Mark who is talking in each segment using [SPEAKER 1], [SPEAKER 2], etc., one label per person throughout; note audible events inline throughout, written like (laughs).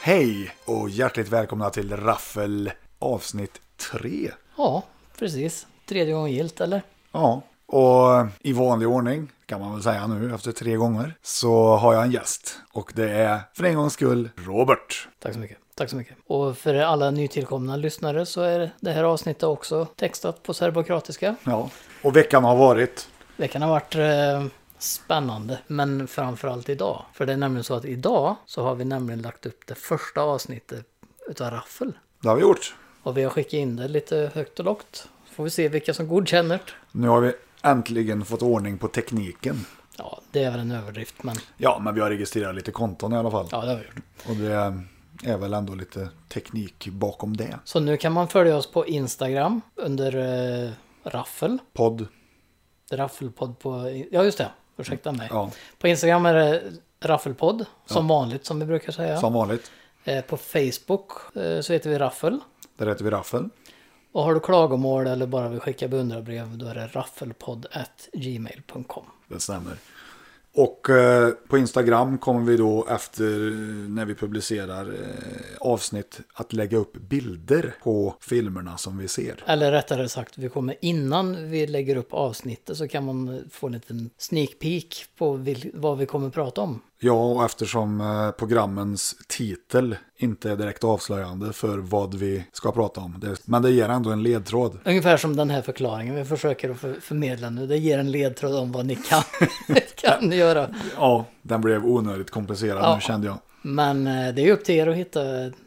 [SPEAKER 1] Hej och hjärtligt välkomna till Raffel avsnitt 3.
[SPEAKER 2] Ja, precis. Tredje gången gilt, eller?
[SPEAKER 1] Ja, och i vanlig ordning kan man väl säga nu efter tre gånger så har jag en gäst och det är för en gångs skull Robert.
[SPEAKER 2] Tack så mycket. Tack så mycket. Och för alla nytillkomna lyssnare så är det här avsnittet också textat på serbokroatiska.
[SPEAKER 1] Ja, och veckan har varit.
[SPEAKER 2] Det kan ha varit eh, spännande, men framförallt idag. För det är nämligen så att idag så har vi nämligen lagt upp det första avsnittet utav Raffel.
[SPEAKER 1] Det har vi gjort.
[SPEAKER 2] Och vi har skickat in det lite högt och lågt. Får vi se vilka som godkänner.
[SPEAKER 1] Nu har vi äntligen fått ordning på tekniken.
[SPEAKER 2] Ja, det är väl en överdrift, men
[SPEAKER 1] Ja, men vi har registrerat lite konton i alla fall.
[SPEAKER 2] ja, det har vi gjort.
[SPEAKER 1] Och det är väl ändå lite teknik bakom det.
[SPEAKER 2] Så nu kan man följa oss på Instagram under eh, Raffel.
[SPEAKER 1] Podd.
[SPEAKER 2] Raffelpodd på... Ja, just det. Ursäkta mig.
[SPEAKER 1] Ja,
[SPEAKER 2] På Instagram är det Raffelpodd, som vanligt som vi brukar säga.
[SPEAKER 1] som vanligt.
[SPEAKER 2] Eh, På Facebook eh, så heter vi Raffel.
[SPEAKER 1] Där heter vi Raffel.
[SPEAKER 2] Och har du klagomål eller bara vill skicka beundrarbrev då är det raffelpodd.gmail.com.
[SPEAKER 1] Det stämmer. Och eh, på Instagram kommer vi då efter eh, när vi publicerar eh, avsnitt att lägga upp bilder på filmerna som vi ser.
[SPEAKER 2] Eller rättare sagt, vi kommer innan vi lägger upp avsnittet så kan man få en liten sneak peek på vil- vad vi kommer prata om.
[SPEAKER 1] Ja, och eftersom eh, programmens titel inte är direkt avslöjande för vad vi ska prata om. Det, men det ger ändå en ledtråd.
[SPEAKER 2] Ungefär som den här förklaringen vi försöker att för- förmedla nu. Det ger en ledtråd om vad ni kan, (laughs) kan göra.
[SPEAKER 1] Ja, den blev onödigt komplicerad
[SPEAKER 2] Ja.
[SPEAKER 1] nu kände jag.
[SPEAKER 2] Men eh, det är upp till er att hitta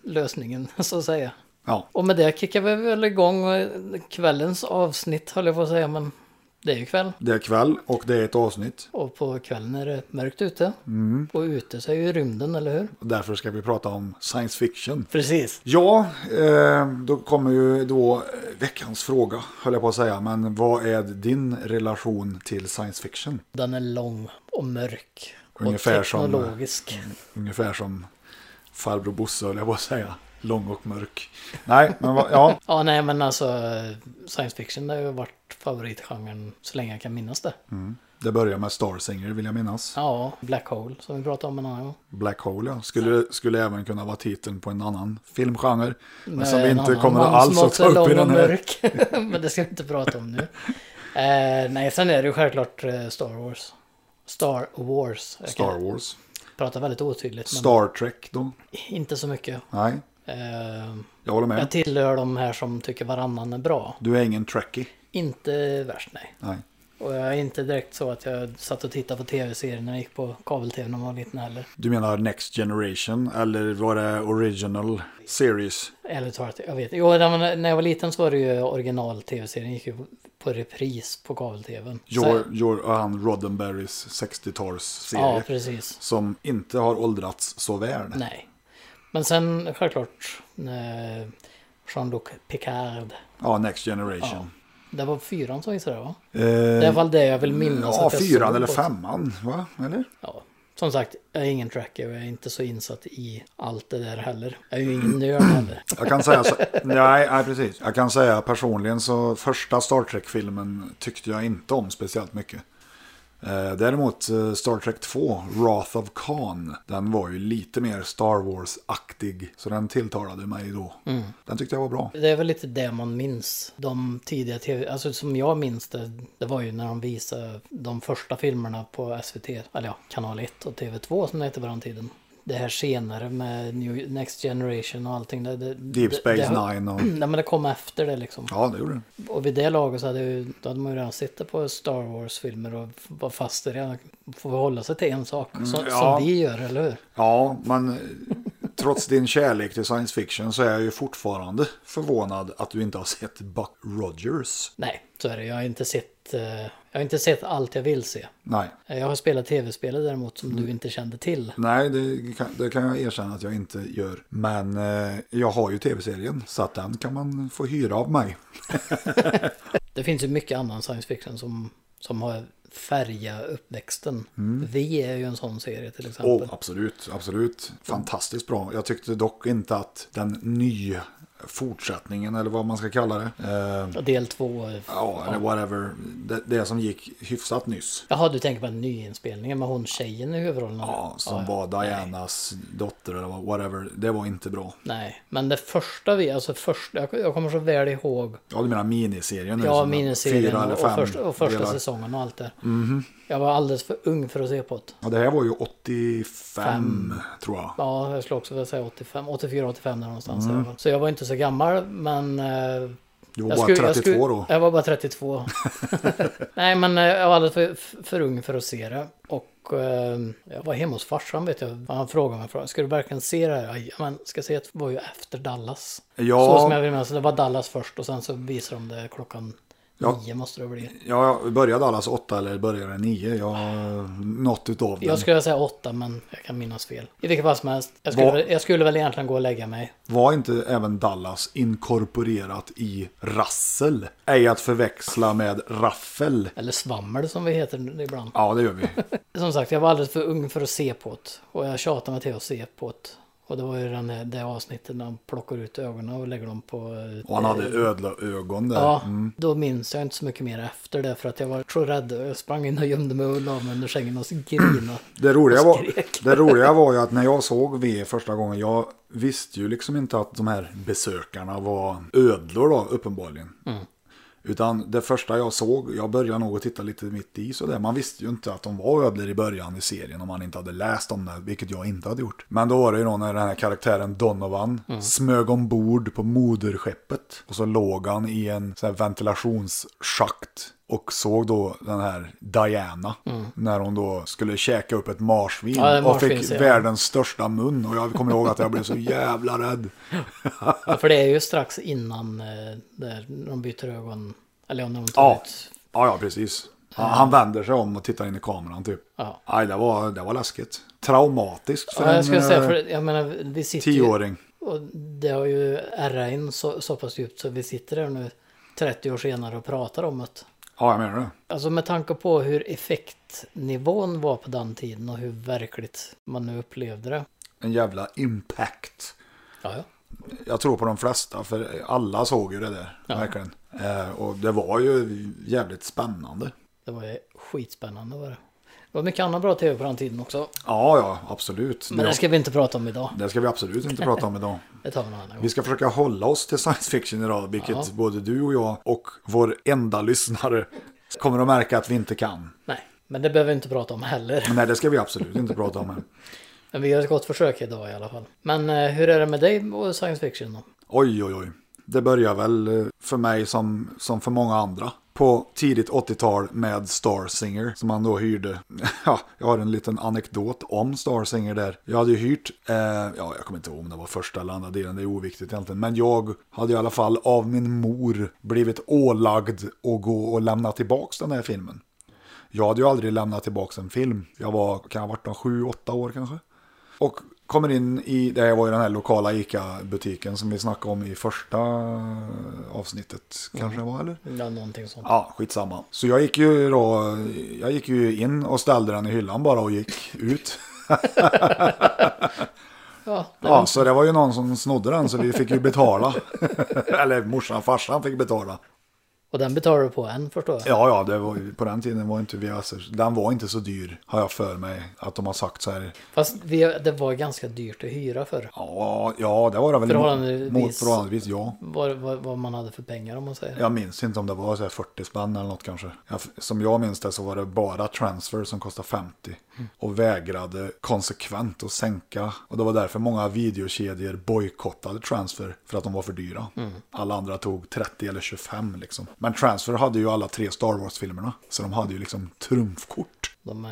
[SPEAKER 2] lösningen (laughs) så att säga.
[SPEAKER 1] Ja,
[SPEAKER 2] Och med det kickar vi väl igång eh, kvällens avsnitt höll jag på att säga men det är ju kväll.
[SPEAKER 1] det är kväll och det är ett avsnitt.
[SPEAKER 2] Och på kvällen är det mörkt ute.
[SPEAKER 1] Mm.
[SPEAKER 2] Och ute så är ju rymden, eller hur?
[SPEAKER 1] Och därför ska vi prata om science fiction.
[SPEAKER 2] Precis.
[SPEAKER 1] Ja, eh, då kommer ju då eh, veckans fråga, höll jag på att säga. Men vad är din relation till science fiction?
[SPEAKER 2] Den är lång och mörk.
[SPEAKER 1] Ungefär
[SPEAKER 2] och
[SPEAKER 1] som- eh,
[SPEAKER 2] teknologisk.
[SPEAKER 1] Ungefär som farbror Bosse, höll jag på att säga. Lång och mörk. Nej, men vad- ja,
[SPEAKER 2] Ja, nej men alltså eh, science fiction har ju varit favoritgenren så länge jag kan minnas det.
[SPEAKER 1] det börjar med Starsinger vill jag minnas.
[SPEAKER 2] Ja, Black Hole som vi pratade om en annan gång.
[SPEAKER 1] Black Hole, ja. Skulle, skulle även kunna vara titeln på en annan filmgenre. Men som
[SPEAKER 2] Med
[SPEAKER 1] vi
[SPEAKER 2] en
[SPEAKER 1] inte
[SPEAKER 2] annan
[SPEAKER 1] kommer
[SPEAKER 2] man
[SPEAKER 1] alls
[SPEAKER 2] som
[SPEAKER 1] att
[SPEAKER 2] också
[SPEAKER 1] ta
[SPEAKER 2] är
[SPEAKER 1] upp
[SPEAKER 2] lång
[SPEAKER 1] i
[SPEAKER 2] och
[SPEAKER 1] den här.
[SPEAKER 2] mörk. (laughs) Men det ska vi inte prata om nu. Eh, nej, sen är det ju självklart eh, Star Wars. Star Wars. Jag kan
[SPEAKER 1] Star Wars.
[SPEAKER 2] prata väldigt otydligt, men
[SPEAKER 1] Star Trek då?
[SPEAKER 2] inte så mycket.
[SPEAKER 1] Nej,
[SPEAKER 2] Eh,
[SPEAKER 1] jag håller
[SPEAKER 2] jag
[SPEAKER 1] med.
[SPEAKER 2] tillhör de här som tycker varannan är bra.
[SPEAKER 1] Du är ingen trekkie.
[SPEAKER 2] Inte värst, nej.
[SPEAKER 1] Nej.
[SPEAKER 2] Och jag är inte direkt så att jag satt och tittade på tv-serier när jag gick på kabel-tv när man var liten heller.
[SPEAKER 1] Du menar Next Generation eller var det Original Series?
[SPEAKER 2] Ärligt talat, jag vet. Jo, när man- när jag var liten så var det ju original-tv-serien gick ju på repris på kabel-tvn.
[SPEAKER 1] Your, your, och han Roddenberrys 60-talsserie.
[SPEAKER 2] Ja, precis.
[SPEAKER 1] som inte har åldrats så väl.
[SPEAKER 2] Nej. Men sen självklart eh, Jean-Luc Picard.
[SPEAKER 1] Ja, Next Generation.
[SPEAKER 2] Det var fyran som visade det va?
[SPEAKER 1] Eh,
[SPEAKER 2] Det är i alla fall det jag vill minnas.
[SPEAKER 1] ja,
[SPEAKER 2] att jag
[SPEAKER 1] fyran
[SPEAKER 2] såg
[SPEAKER 1] eller
[SPEAKER 2] på.
[SPEAKER 1] femman, va? Eller?
[SPEAKER 2] Ja. Som sagt, jag är ingen tracker och jag är inte så insatt i allt det där heller. Jag är ju ingen nörd heller.
[SPEAKER 1] Jag kan säga så, nej, nej, precis. Jag kan säga personligen så första Star Trek-filmen tyckte jag inte om speciellt mycket. Eh, Däremot eh, Star Trek 2, Wrath of Khan, den var ju lite mer Star Wars-aktig. Så den tilltalade mig då.
[SPEAKER 2] Mm.
[SPEAKER 1] Den tyckte jag var bra.
[SPEAKER 2] Det är väl lite det man minns. De tidiga tv, alltså som jag minns det, det var ju när de visade de första filmerna på SVT, eller ja, kanal 1 och TV2 som det hette på den tiden. Det här senare med New, Next Generation och allting. Det, det,
[SPEAKER 1] Deep Space
[SPEAKER 2] det, det,
[SPEAKER 1] Nine och...
[SPEAKER 2] Nej men det kom efter det liksom.
[SPEAKER 1] Ja, det gjorde den.
[SPEAKER 2] Och vid det laget så hade, ju, då hade man ju redan suttit på Star Wars-filmer och var fast i det. Får hålla sig till en sak som,
[SPEAKER 1] Mm, ja.
[SPEAKER 2] som vi gör, eller hur?
[SPEAKER 1] Ja, men eh, trots din kärlek till science fiction så är jag ju fortfarande förvånad att du inte har sett Buck Rogers.
[SPEAKER 2] Nej, så är det. Jag har inte sett, eh, jag har inte sett allt jag vill se.
[SPEAKER 1] Nej,
[SPEAKER 2] Jag har spelat tv-spelet däremot som
[SPEAKER 1] Mm.
[SPEAKER 2] du inte kände till.
[SPEAKER 1] nej det, kan, det kan jag erkänna att jag inte gör. Men eh, jag har ju tv-serien så att den kan man få hyra av mig.
[SPEAKER 2] Det finns ju mycket annan science fiction som, som har färga uppväxten.
[SPEAKER 1] Mm.
[SPEAKER 2] Vi är ju en sån serie till
[SPEAKER 1] Alltså.
[SPEAKER 2] exempel.
[SPEAKER 1] Oh, absolut, absolut. Fantastiskt bra. Jag tyckte dock inte att den nya fortsättningen eller vad man ska kalla det. Eh,
[SPEAKER 2] Del två.
[SPEAKER 1] ja, eller whatever. Det, det som gick hyfsat nyss.
[SPEAKER 2] Jaha, du tänker på den nyinspelningen med hon tjejen i huvudrollen?
[SPEAKER 1] Ja, som var Dianas dotter eller vad- whatever. Det var inte bra.
[SPEAKER 2] Nej, men det första vi, alltså första, jag- jag kommer så väl ihåg,
[SPEAKER 1] Ja, du menar miniserien nu?
[SPEAKER 2] ja
[SPEAKER 1] som är
[SPEAKER 2] miniserien
[SPEAKER 1] Fyra eller
[SPEAKER 2] och,
[SPEAKER 1] fem
[SPEAKER 2] och, första, och första
[SPEAKER 1] delar. Mhm.
[SPEAKER 2] säsongen och allt det. Jag var alldeles för ung för att se på det.
[SPEAKER 1] Ja, det här var ju 85 tror jag.
[SPEAKER 2] Ja, jag skulle också vilja säga 85, 84-85 där någonstans. i alla fall. Så jag var inte så gammal, men... eh,
[SPEAKER 1] Mm. Du var
[SPEAKER 2] jag
[SPEAKER 1] bara
[SPEAKER 2] skulle-
[SPEAKER 1] 32
[SPEAKER 2] jag skulle-
[SPEAKER 1] då.
[SPEAKER 2] Jag var
[SPEAKER 1] (laughs)
[SPEAKER 2] bara 32. (laughs) Nej, men eh, jag var alldeles för, för ung för att se det. Och eh, jag var hemma hos farsan vet jag. Han frågade mig, frågan, ska du verkligen se det här? Ja, men ska jag se det var ju efter Dallas.
[SPEAKER 1] Ja.
[SPEAKER 2] Så som jag vill minnas, det var Dallas först och sen så visar de det klockan
[SPEAKER 1] Ja. Mm.
[SPEAKER 2] nio måste det bli.
[SPEAKER 1] Ja, jag började allas åtta eller började nio? Jag, något utav
[SPEAKER 2] Jag
[SPEAKER 1] det.
[SPEAKER 2] skulle säga åtta, men jag kan minnas fel. I vilket fall som helst, jag skulle,
[SPEAKER 1] Vad-
[SPEAKER 2] väl- jag skulle väl egentligen gå och lägga mig.
[SPEAKER 1] Var inte även Dallas inkorporerat i Rassel? Ej att förväxla med Raffel.
[SPEAKER 2] Eller svammel som vi heter ibland.
[SPEAKER 1] Ja, det gör vi.
[SPEAKER 2] Som sagt, jag var alldeles för ung för att se på det. Och jag tjatade mig till att se på det. Och det var ju den här, det avsnittet när han plockar ut ögonen och lägger dem på... eh,
[SPEAKER 1] Och han hade (laughs) ödleögon där.
[SPEAKER 2] Ja,
[SPEAKER 1] Mm.
[SPEAKER 2] då minns jag inte så mycket mer efter det för att jag var så rädd. Jag sprang in och gömde mig och la mig under sängen och grinade.
[SPEAKER 1] Det roliga, var,
[SPEAKER 2] skrek.
[SPEAKER 1] det roliga var ju att när jag såg V första gången, jag visste ju liksom inte att de här besökarna var ödlor då, uppenbarligen. Utan det första jag såg, jag började nog att titta lite mitt i sådär. Man visste ju inte att de var ödlor i början i serien om man inte hade läst om det, vilket jag inte hade gjort. Men då var det ju då när den här karaktären Donovan
[SPEAKER 2] Mm.
[SPEAKER 1] smög ombord på moderskeppet. Och så låg han i en sån här ventilationsschakt och såg då den här Diana när hon då skulle käka upp ett marsvin
[SPEAKER 2] Mm. Ja, det är
[SPEAKER 1] och
[SPEAKER 2] marsvin,
[SPEAKER 1] fick
[SPEAKER 2] ser jag.
[SPEAKER 1] världens största mun. Och jag kommer ihåg att jag blev så jävla rädd.
[SPEAKER 2] Ja, för det är ju strax innan eh, där när de byter ögon. Eller om de tar
[SPEAKER 1] Ja,
[SPEAKER 2] ut.
[SPEAKER 1] ja, ja precis. Han, han vänder sig om och tittar in i kameran typ.
[SPEAKER 2] Ja.
[SPEAKER 1] Aj, det var, det var läskigt. Traumatiskt för
[SPEAKER 2] Ja,
[SPEAKER 1] en
[SPEAKER 2] jag skulle säga,
[SPEAKER 1] eh,
[SPEAKER 2] för jag menar, vi sitter ju...
[SPEAKER 1] tioåring.
[SPEAKER 2] Och det har ju ärrat in så, så pass djupt så vi sitter här nu 30 år senare och pratar om det.
[SPEAKER 1] Ja, jag menar det.
[SPEAKER 2] Alltså med tanke på hur effektnivån var på den tiden och hur verkligt man nu upplevde det.
[SPEAKER 1] En jävla impact.
[SPEAKER 2] Ja, ja.
[SPEAKER 1] Jag tror på de flesta, för alla såg ju det där. Verkligen. Eh, och det var ju jävligt spännande.
[SPEAKER 2] Det var ju skitspännande var det. Det var mycket annan bra tv på den tiden också.
[SPEAKER 1] Ja, ja, absolut.
[SPEAKER 2] Men det ska vi inte prata om idag.
[SPEAKER 1] det ska vi absolut inte prata om idag.
[SPEAKER 2] Det tar vi någon annan gång.
[SPEAKER 1] Vi ska försöka hålla oss till science fiction idag, vilket
[SPEAKER 2] Ja.
[SPEAKER 1] både du och jag och vår enda lyssnare kommer att märka att vi inte kan.
[SPEAKER 2] Nej, men det behöver vi inte prata om heller.
[SPEAKER 1] Men nej, det ska vi absolut inte prata om. Här.
[SPEAKER 2] Men vi gör ett gott försök idag i alla fall. Men eh, hur är det med dig och science fiction då?
[SPEAKER 1] Oj, oj, oj. Det börjar väl eh, för mig som, som för många andra. På tidigt 80-tal med Starsinger som han då hyrde. (laughs) Ja, jag har en liten anekdot om Starsinger där. Jag hade ju hyrt, eh, ja jag kommer inte ihåg om det var första eller andra delen, det är oviktigt egentligen. Men jag hade i alla fall av min mor blivit ålagd att gå och lämna tillbaks den här filmen. Jag hade ju aldrig lämnat tillbaka en film. Jag var, kan ha varit de sju, åtta år kanske. Och kommer in i, det här var ju den här lokala ICA-butiken som vi snackade om i första avsnittet kanske det var eller?
[SPEAKER 2] Ja, någonting sånt.
[SPEAKER 1] Mm. Ja, skitsamma. Så jag gick ju då, jag gick ju in och ställde den i hyllan bara och gick (laughs) ut.
[SPEAKER 2] Ja,
[SPEAKER 1] Ja, så det var ju någon som snodde den så vi fick ju betala. (laughs) Eller morsan och farsan fick betala.
[SPEAKER 2] och den betalar du på än förstår jag.
[SPEAKER 1] Ja, ja, det var, ju- på den tiden var inte VHS, den var inte så dyr har jag för mig att de har sagt så här.
[SPEAKER 2] Fast vi, det var ganska dyrt att hyra för
[SPEAKER 1] Ja, ja det var det väl.
[SPEAKER 2] Förhållandevis.
[SPEAKER 1] Mot förhållandevis, ja.
[SPEAKER 2] vad, vad, vad man hade för pengar om man säger.
[SPEAKER 1] Jag minns inte om det var så här 40 spänn eller något kanske. Jag, som jag minns det så var det bara transfer som kostade 50. Och vägrade konsekvent att sänka. Och det var därför många videokedjor bojkottade transfer för att de var för dyra. Alla andra tog 30 eller 25 liksom. Men transfer hade ju alla tre Star Wars-filmerna. Så de hade ju liksom trumfkort.
[SPEAKER 2] De eh,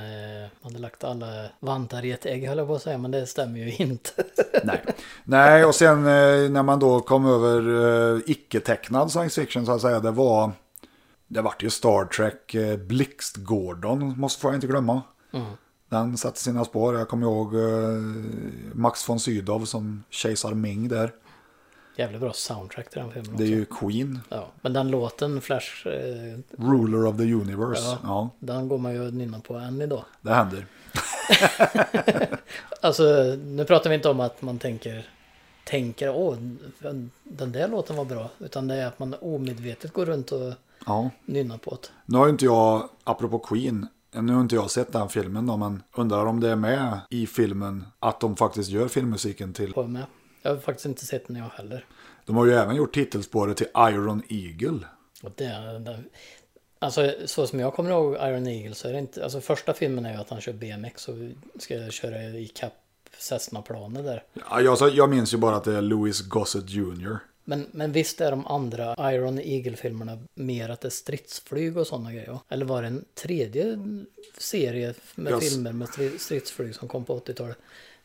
[SPEAKER 2] hade lagt alla vantar i ett ägg höll jag på att säga, men det stämmer ju inte. (laughs)
[SPEAKER 1] Nej. Nej, och sen eh, när man då kom över eh, icke-tecknad science fiction så att säga, det var... Det vart ju Star Trek, eh, Blixt Gordon, måste får jag inte glömma. Den satte sina spår, jag kommer ihåg eh, Max von Sydow som kejsar Ming där.
[SPEAKER 2] Jävligt bra soundtrack till den filmen
[SPEAKER 1] Det är
[SPEAKER 2] också.
[SPEAKER 1] ju Queen,
[SPEAKER 2] Ja, men den låten, Flash, eh,
[SPEAKER 1] Ruler of the Universe. Ja,
[SPEAKER 2] Ja. den går man ju att nynna på än idag.
[SPEAKER 1] det händer.
[SPEAKER 2] Alltså, nu pratar vi inte om att man tänker tänker åh, den där låten var bra. Utan det är att man omedvetet går runt och
[SPEAKER 1] Ja.
[SPEAKER 2] nynnar på det.
[SPEAKER 1] Nu har ju inte jag, apropå Queen, nu har inte jag sett den filmen då, men undrar om det är med i filmen att de faktiskt gör filmmusiken till.
[SPEAKER 2] På med. Jag har faktiskt inte sett den jag heller.
[SPEAKER 1] De har ju även gjort titelspåret till Iron Eagle.
[SPEAKER 2] Och det, är- det, alltså så som jag kommer ihåg Iron Eagle så är det inte, alltså första filmen är ju att han kör BMX och ska köra i kapp Cessna-planet där.
[SPEAKER 1] Ja, Jag, sa- jag minns ju bara att det är Louis Gossett Jr.
[SPEAKER 2] Men, men visst är de andra Iron Eagle-filmerna mer att det är stridsflyg och sådana grejer? Eller var det en tredje serie med
[SPEAKER 1] Jag s-
[SPEAKER 2] filmer med stri- stridsflyg som kom på 80-talet?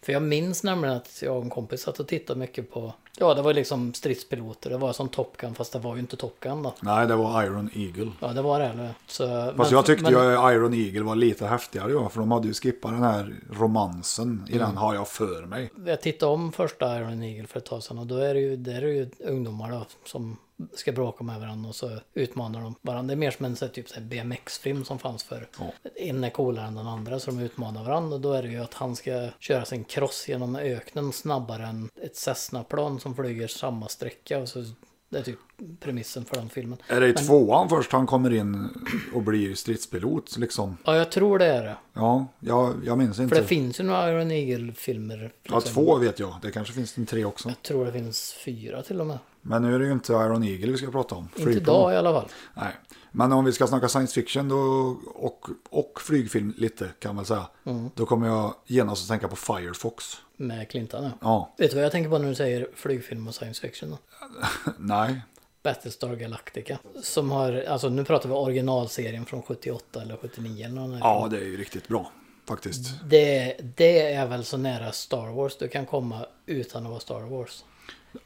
[SPEAKER 2] För jag minns nämligen att jag och en kompis satt och tittade mycket på, ja det var liksom stridspiloter, det var som Top Gun fast det var ju inte Top Gun då.
[SPEAKER 1] Nej, det var Iron Eagle.
[SPEAKER 2] Ja det var det eller? Så,
[SPEAKER 1] Fast jag tyckte ju Iron Eagle var lite häftigare, ja, för de hade ju skippat den här romansen. I
[SPEAKER 2] Mm.
[SPEAKER 1] den har jag för mig.
[SPEAKER 2] jag tittade om första Iron Eagle för ett tag sedan och då är det ju, där är det ju ungdomar då, som ska bråka med varandra och så utmanar de varandra. Det är mer som en så här, typ så här BMX-film som fanns för
[SPEAKER 1] Ja.
[SPEAKER 2] En är coolare än den andra så de utmanar varandra och då är det ju att han ska köra sin cross genom öknen snabbare än ett Cessna-plan som flyger samma sträcka. Och så, det är typ premissen för den filmen.
[SPEAKER 1] Är det i tvåan först han kommer in och blir stridspilot liksom?
[SPEAKER 2] Ja, jag tror det är det.
[SPEAKER 1] Ja, jag, jag minns
[SPEAKER 2] För
[SPEAKER 1] inte.
[SPEAKER 2] det finns ju några Iron Eagle-filmer.
[SPEAKER 1] ja,
[SPEAKER 2] liksom.
[SPEAKER 1] två vet jag. Det kanske finns en tre också.
[SPEAKER 2] Jag tror det finns fyra till och med.
[SPEAKER 1] Men nu är det ju inte Iron Eagle vi ska prata om.
[SPEAKER 2] Inte
[SPEAKER 1] Flygplan.
[SPEAKER 2] idag i alla fall.
[SPEAKER 1] Nej. Men om vi ska snacka science fiction då, och, och flygfilm lite kan man säga.
[SPEAKER 2] Mm.
[SPEAKER 1] Då kommer jag genast att tänka på Firefox.
[SPEAKER 2] Med Clintan ja.
[SPEAKER 1] Ja,
[SPEAKER 2] Vet du vad jag tänker på när du säger flygfilm och science fiction? Då?
[SPEAKER 1] nej.
[SPEAKER 2] Battlestar Galactica. Som har, alltså nu pratar vi originalserien från 78 eller 79 eller någon
[SPEAKER 1] Ja, det är ju riktigt bra faktiskt.
[SPEAKER 2] Mm. det, det är väl så nära Star Wars du kan komma utan att vara Star Wars.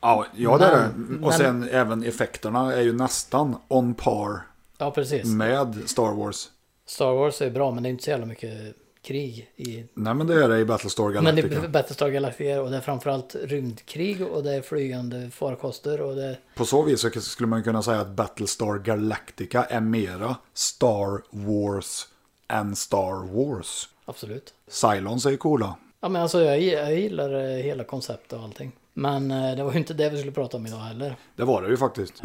[SPEAKER 1] Ja, ja det är
[SPEAKER 2] Men-
[SPEAKER 1] det. Och sen även effekterna är ju nästan on par
[SPEAKER 2] Ja, precis.
[SPEAKER 1] Mm. med Star Wars.
[SPEAKER 2] Star Wars är bra, men det är inte så jävla mycket krig i...
[SPEAKER 1] Nej, men det är det i Battlestar
[SPEAKER 2] Men det
[SPEAKER 1] Galactica.
[SPEAKER 2] är Battlestar Galactica och det är framförallt rymdkrig och det är flygande farkoster och det...
[SPEAKER 1] På så vis så skulle man kunna säga att Battlestar Galactica är mera Star Wars än Star Wars.
[SPEAKER 2] Absolut.
[SPEAKER 1] Cylons är ju coola.
[SPEAKER 2] Ja, men alltså jag, jag gillar eh, hela konceptet och allting. Men eh, det var ju inte det vi skulle prata om idag heller.
[SPEAKER 1] Det var det ju faktiskt. (laughs)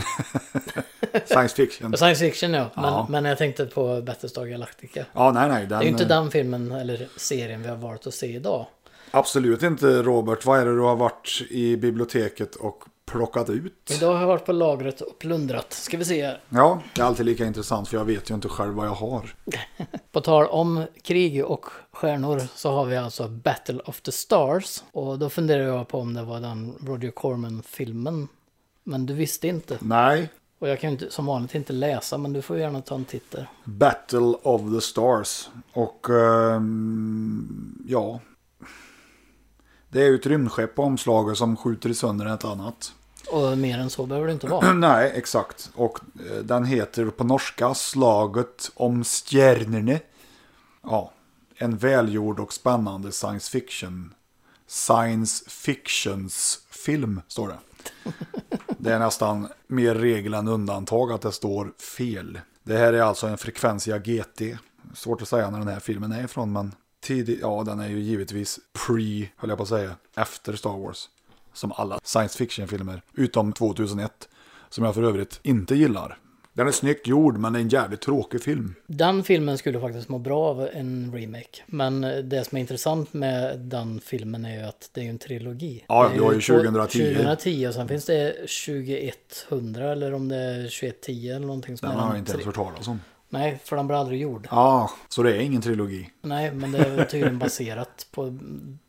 [SPEAKER 1] Science fiction.
[SPEAKER 2] Ja, Science fiction ja, men,
[SPEAKER 1] Ja.
[SPEAKER 2] men jag tänkte på Battlestar Galactica.
[SPEAKER 1] Ja, nej, nej.
[SPEAKER 2] Det är ju inte
[SPEAKER 1] Den,
[SPEAKER 2] den filmen eller serien vi har valt att se idag.
[SPEAKER 1] eh, absolut inte, Robert. Vad är det du har varit i biblioteket och plockat ut?
[SPEAKER 2] Idag har jag varit på lagret och plundrat. Ska vi se här.
[SPEAKER 1] Ja, det är alltid lika intressant för jag vet ju inte själv vad jag har.
[SPEAKER 2] På tal om krig och stjärnor så har vi alltså Battle of the Stars. Och då funderar jag på om det var den Roger Corman-filmen. Men du visste inte.
[SPEAKER 1] Nej,
[SPEAKER 2] Och jag kan ju inte, som vanligt inte läsa, men du får gärna ta en titt där.
[SPEAKER 1] Battle of the Stars. Och ehm, ja. Det är ju ett rymdskepp på omslaget som skjuter sönder ett annat.
[SPEAKER 2] Och mer än så behöver det inte (clears throat) vara.
[SPEAKER 1] Nej, exakt. Och eh, den heter på norska Slaget om stjärnorna. Ja, en välgjord och spännande science fiction. Science fictions film står det. Det är nästan mer regel än undantag att det står fel. Det här är alltså en Frekvensia GT. Svårt att säga när den här filmen är ifrån, men tidig, ja, den är ju givetvis pre, höll jag på att säga, efter Star Wars. Som alla science fiction-filmer, utom 2001, som jag för övrigt inte gillar. Den är snyggt gjord, men det är en jävligt tråkig film.
[SPEAKER 2] Den filmen skulle faktiskt må bra av en remake. Men det som är intressant med den filmen är ju att det är ju en trilogi.
[SPEAKER 1] Ja,
[SPEAKER 2] det
[SPEAKER 1] vi har ju
[SPEAKER 2] två-
[SPEAKER 1] 2010.
[SPEAKER 2] 2010 och sen finns det 2100 eller om det är 2110 eller någonting som
[SPEAKER 1] Den
[SPEAKER 2] är
[SPEAKER 1] har
[SPEAKER 2] en
[SPEAKER 1] jag inte ens
[SPEAKER 2] tri-
[SPEAKER 1] hört talas om.
[SPEAKER 2] Nej, för den blir aldrig gjord.
[SPEAKER 1] Ja, så det är ingen trilogi.
[SPEAKER 2] Nej, men det är tydligen baserat på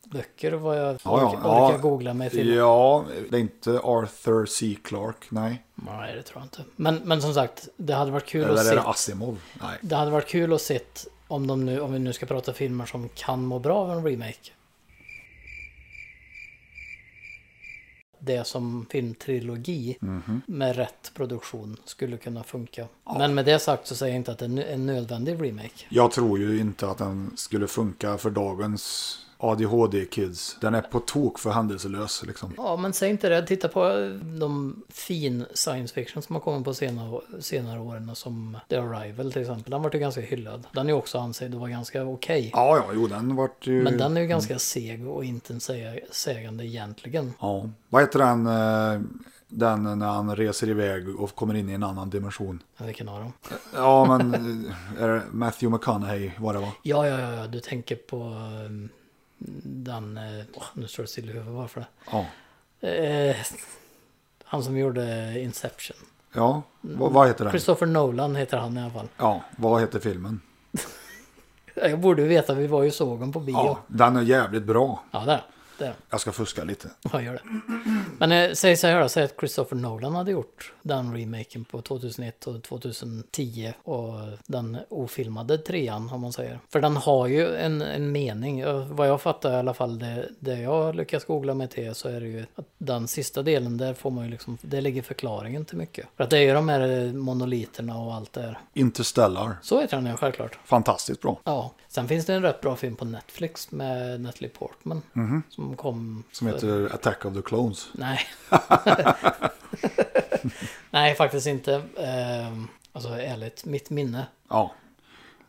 [SPEAKER 2] böcker vad jag orkar, orkar googla mig till.
[SPEAKER 1] Ja, det är inte Arthur C. Clarke, nej.
[SPEAKER 2] Nej, det tror jag inte. Men, men som sagt, det hade varit kul att
[SPEAKER 1] Eller är
[SPEAKER 2] se.
[SPEAKER 1] det Asimov? Nej.
[SPEAKER 2] Det hade varit kul att se om, de nu, om vi nu ska prata filmer som kan må bra av en remake. Det som filmtrilogi med rätt produktion skulle kunna funka. Men med det sagt så säger jag inte att det är en- en nödvändig remake.
[SPEAKER 1] Jag tror ju inte att den skulle funka för dagens ADHD-kids. Den är på tok för händelselös liksom.
[SPEAKER 2] Ja, men säg inte det. Titta på eh, de fin science fiction som har kommit på senare, senare åren. och Som The Arrival till exempel. Den vart ju ganska hyllad. Den är ju också ansedd att vara ganska okej.
[SPEAKER 1] Ja, ja, jo, den vart ju...
[SPEAKER 2] Men den är ju ganska seg och inte en sä- sägande egentligen.
[SPEAKER 1] Ja. Vad heter den, eh, den när han reser iväg och kommer in i en annan dimension?
[SPEAKER 2] Men Vilken av dem?
[SPEAKER 1] Ja, men eh, är det Matthew McConaughey var det va?
[SPEAKER 2] Ja, ja, ja, ja, du tänker på ehm, den... eh, åh, nu står det still i huvudet, varför
[SPEAKER 1] Ja.
[SPEAKER 2] det? Eh, han som gjorde Inception.
[SPEAKER 1] Ja, vad, vad heter den?
[SPEAKER 2] Christopher Nolan heter han i alla fall.
[SPEAKER 1] Ja, vad heter filmen?
[SPEAKER 2] Jag borde ju veta, vi var ju såg honom på bio.
[SPEAKER 1] Ja,
[SPEAKER 2] Ja,
[SPEAKER 1] den är jävligt bra.
[SPEAKER 2] där. där.
[SPEAKER 1] Jag ska fuska lite.
[SPEAKER 2] (laughs) Ja, gör det. Men eh, säg så här då, säg att Christopher Nolan hade gjort den remaken på 2001 och 2010 och den ofilmade trean om man säger. För den har ju en, en mening. Eh, Vad jag fattar i alla fall, det, det jag lyckas googla mig till så är det ju att den sista delen där får man ju liksom, det ligger förklaringen till mycket. För att det är ju de här eh, monoliterna och allt det här.
[SPEAKER 1] Interstellar.
[SPEAKER 2] Så heter den ju självklart.
[SPEAKER 1] Fantastiskt bra.
[SPEAKER 2] Ja, sen finns det en rätt bra film på Netflix med Natalie Portman. Som kom...
[SPEAKER 1] Som heter Attack of the Clones.
[SPEAKER 2] Nej. Nej, faktiskt inte. Ehm, Alltså ärligt, mitt minne.
[SPEAKER 1] Ja.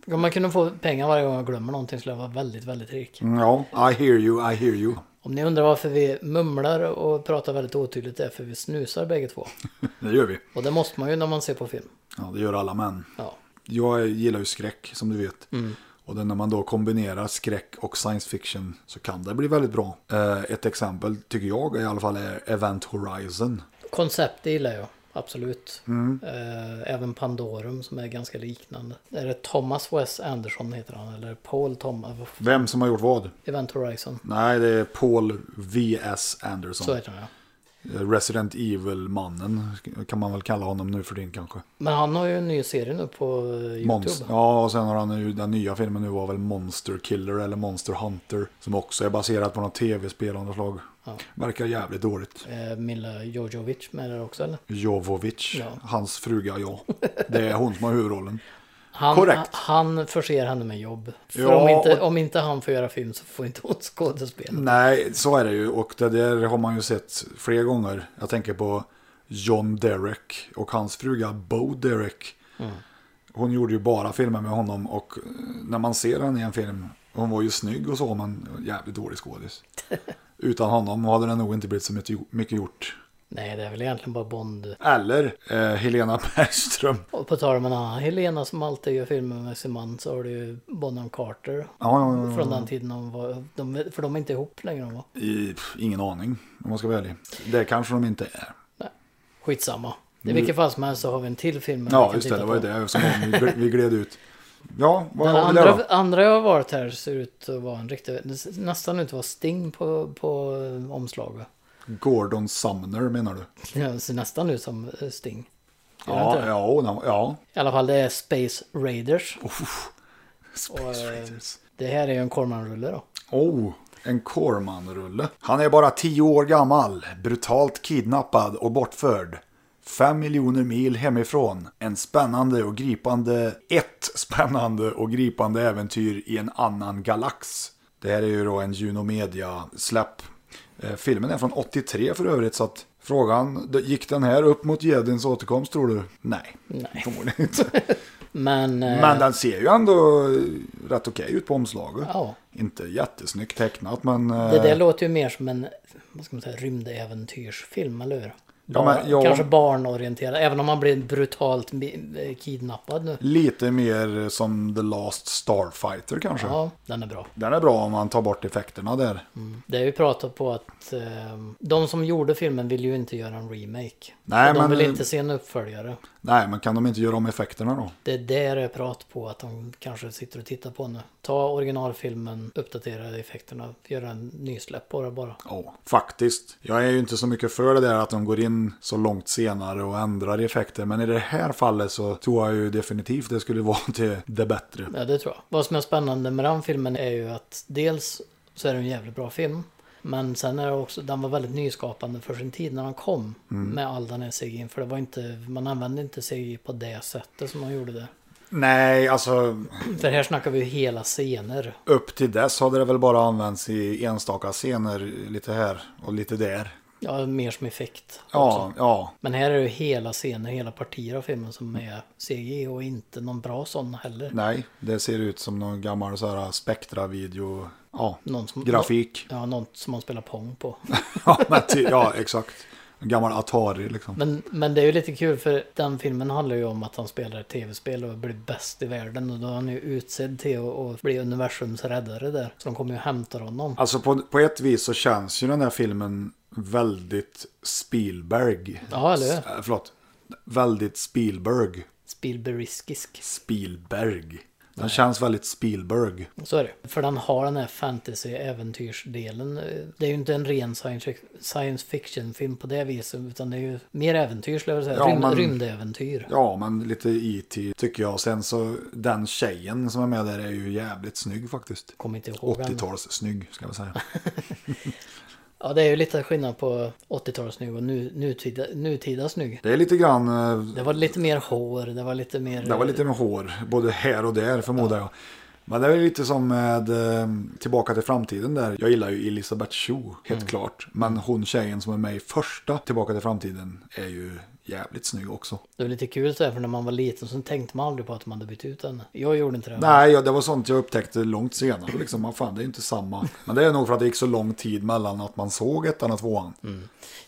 [SPEAKER 2] Om man kunde få pengar varje gång jag glömmer någonting skulle jag vara väldigt, väldigt rik.
[SPEAKER 1] Mm, Ja, I hear you, I hear you.
[SPEAKER 2] Om ni undrar varför vi mumlar och pratar väldigt otydligt det är för vi snusar bägge två.
[SPEAKER 1] Det gör vi.
[SPEAKER 2] Och det måste man ju när man ser på film.
[SPEAKER 1] Ja, det gör alla män.
[SPEAKER 2] Ja,
[SPEAKER 1] Jag gillar ju skräck, som du vet. Och det, när man då kombinerar skräck och science fiction så kan det bli väldigt bra. Eh, ett exempel, tycker jag i alla fall, är Event Horizon.
[SPEAKER 2] koncept det gillar jag. Absolut. Eh, Även Pandorum som är ganska liknande. Är det Thomas Wes Anderson heter han? Eller Paul Thomas?
[SPEAKER 1] Vem som har gjort vad?
[SPEAKER 2] Event Horizon.
[SPEAKER 1] Nej, det är Paul V.S. Anderson.
[SPEAKER 2] Så heter han ja.
[SPEAKER 1] Resident Evil-mannen kan man väl kalla honom nu för din kanske.
[SPEAKER 2] Men han har ju en ny serie nu på eh, YouTube.
[SPEAKER 1] Monst- ja, och sen har han ju den nya filmen nu var väl Monster Killer eller Monster Hunter. Som också är baserat på något tv-spel av något slag. Verkar jävligt dåligt.
[SPEAKER 2] Eh, Milla Jojovic med där också eller?
[SPEAKER 1] Jovovic,
[SPEAKER 2] Ja.
[SPEAKER 1] hans fruga ja. Det är hon som har huvudrollen.
[SPEAKER 2] Han,
[SPEAKER 1] Korrekt.
[SPEAKER 2] Han förser henne med jobb. För
[SPEAKER 1] Ja,
[SPEAKER 2] om, inte,
[SPEAKER 1] och-
[SPEAKER 2] om inte han får göra film så får inte hon skådespela.
[SPEAKER 1] Nej, så är det ju. Och det där har man ju sett flera gånger. Jag tänker på John Derek och hans fruga Bo Derek.
[SPEAKER 2] Mm.
[SPEAKER 1] Hon gjorde ju bara filmer med honom och eh, när man ser henne i en film, hon var ju snygg och så, men jävligt dålig
[SPEAKER 2] (laughs)
[SPEAKER 1] skådis. Utan honom hade det nog inte blivit så mycket mycket gjort.
[SPEAKER 2] Nej, det är väl egentligen bara Bond.
[SPEAKER 1] Eller eh, Helena (laughs) Bergström.
[SPEAKER 2] Och på tal om en annan Helena som alltid gör filmer med sin man så har du ju Bonham Carter.
[SPEAKER 1] Ja, ja, ja,
[SPEAKER 2] Från den tiden de var, de, för de är inte ihop längre de var.
[SPEAKER 1] ja. I, pff, ingen aning, om man ska vara ärlig. Det kanske de inte är.
[SPEAKER 2] Skitsamma. I vilket fall som helst så har vi en till film. vi
[SPEAKER 1] Mm. Ja,
[SPEAKER 2] kan
[SPEAKER 1] just det,
[SPEAKER 2] titta
[SPEAKER 1] det var ju
[SPEAKER 2] på.
[SPEAKER 1] det som vi, vi gled ut. Ja, vad
[SPEAKER 2] Den
[SPEAKER 1] har vi där då?
[SPEAKER 2] andra, andra jag har varit här ser ut att vara en riktig, det ser nästan ut att vara Sting på, på eh, omslaget. (laughs)
[SPEAKER 1] Gordon Sumner menar du?
[SPEAKER 2] Det ser nästan ut som eh, Sting. Gör det inte
[SPEAKER 1] Ja,
[SPEAKER 2] det?
[SPEAKER 1] ja, ja, ja.
[SPEAKER 2] I alla fall det är Space Raiders.
[SPEAKER 1] Space
[SPEAKER 2] Och, eh,
[SPEAKER 1] Raiders.
[SPEAKER 2] Det här är ju en Corman-rulle då.
[SPEAKER 1] Oh, en Corman-rulle. Han är bara tio år gammal, brutalt kidnappad och bortförd. Fem miljoner mil hemifrån. En spännande och gripande... Ett spännande och gripande äventyr i en annan galax. Det här är ju då en Junomedia-släpp. Eh, Filmen är från 83 för övrigt, så att frågan... Gick den här upp mot Jedins återkomst, tror du? Nej. Nej. Förmodligen inte.
[SPEAKER 2] Men, eh,
[SPEAKER 1] Men den ser ju ändå rätt okej ut på omslaget.
[SPEAKER 2] Ja.
[SPEAKER 1] Inte jättesnyggt tecknat men... eh,
[SPEAKER 2] det där låter ju mer som en vad ska man säga, rymdäventyrsfilm, eller hur?
[SPEAKER 1] Ja, men
[SPEAKER 2] Barn-
[SPEAKER 1] jag-
[SPEAKER 2] Kanske barnorienterad, även om man blir brutalt mi- eh, kidnappad nu.
[SPEAKER 1] Lite mer som The Last Starfighter kanske.
[SPEAKER 2] Ja, Mm. den är bra.
[SPEAKER 1] Den är bra om man tar bort effekterna där.
[SPEAKER 2] Det är ju pratat på att eh, de som gjorde filmen vill ju inte göra en remake.
[SPEAKER 1] Nej,
[SPEAKER 2] Och de
[SPEAKER 1] men-
[SPEAKER 2] vill inte se en uppföljare.
[SPEAKER 1] Nej, men kan de inte göra om effekterna då?
[SPEAKER 2] Det är där det är prat på att de kanske sitter och tittar på nu. Ta originalfilmen, uppdatera effekterna, göra en nysläpp på det bara.
[SPEAKER 1] Ja, faktiskt. Jag är ju inte så mycket för det där att de går in så långt senare och ändrar i effekter. Men i det här fallet så tror jag ju definitivt det skulle (laughs) vara till det bättre.
[SPEAKER 2] Ja, det tror jag. Vad som är spännande med den filmen är ju att dels så är det en jävligt bra film. Men sen är det också, den var väldigt nyskapande för sin tid när den kom.
[SPEAKER 1] Mm.
[SPEAKER 2] Med all den här CGI. För det var inte, man använde inte CGI på det sättet som man gjorde där.
[SPEAKER 1] Nej, alltså
[SPEAKER 2] För här snackar vi ju hela scener.
[SPEAKER 1] upp till dess hade det väl bara använts i enstaka scener lite här och lite där.
[SPEAKER 2] Ja, mer som effekt. också.
[SPEAKER 1] Ja, ja.
[SPEAKER 2] Men här är det ju hela scener, hela partier av filmen som är CGI och inte någon bra sån heller.
[SPEAKER 1] Nej, det ser ut som någon gammal så här Spectra-video. Ja,
[SPEAKER 2] Någon som,
[SPEAKER 1] grafik.
[SPEAKER 2] Ja, något som man spelar pong på.
[SPEAKER 1] (laughs) ja, men ty- (laughs) ja, exakt. En gammal Atari liksom.
[SPEAKER 2] Men, men det är ju lite kul för den filmen handlar ju om att han spelar ett tv-spel och blir bäst i världen. Och då är han ju utsedd till att att bli universums räddare där. Så de kommer ju hämta honom.
[SPEAKER 1] Alltså på, på ett vis så känns ju den här filmen väldigt Spielberg.
[SPEAKER 2] Ja, eller hur?
[SPEAKER 1] S- eh, Förlåt. Väldigt Spielberg.
[SPEAKER 2] Spielbergisk.
[SPEAKER 1] Spielberg. Den känns väldigt Spielberg.
[SPEAKER 2] Så är det. För den har den här fantasy-äventyrsdelen. Det är ju inte en ren science science fiction-film på det viset. Utan det är ju mer äventyr skulle jag vilja säga.
[SPEAKER 1] Ja,
[SPEAKER 2] Rymd,
[SPEAKER 1] men-
[SPEAKER 2] Rymdäventyr.
[SPEAKER 1] Ja, men lite IT tycker jag. Sen så den tjejen som är med där är ju jävligt snygg faktiskt.
[SPEAKER 2] Kommer inte ihåg den.
[SPEAKER 1] 80-tals snygg ska man säga.
[SPEAKER 2] Ja, det är ju lite skillnad på 80-talssnygg och nu, nutida, nutida snygg.
[SPEAKER 1] Det är lite grann... eh,
[SPEAKER 2] Det var lite mer hår, det var lite mer...
[SPEAKER 1] Det var lite med hår, både här och där förmodar jag. Men det är ju lite som med eh, Tillbaka till framtiden där. Jag gillar ju Elisabeth Chu, helt klart. Men hon tjejen som är med i första Tillbaka till framtiden är ju jävligt snygg också.
[SPEAKER 2] Det var lite kul så här, för när man var liten så tänkte man aldrig på att man hade bytt ut henne. Jag gjorde inte det.
[SPEAKER 1] Nej, ja, det var sånt jag upptäckte långt senare. Liksom, man fan, det är ju inte samma. Men det är nog för att det gick så lång tid mellan att man såg ettan och tvåan.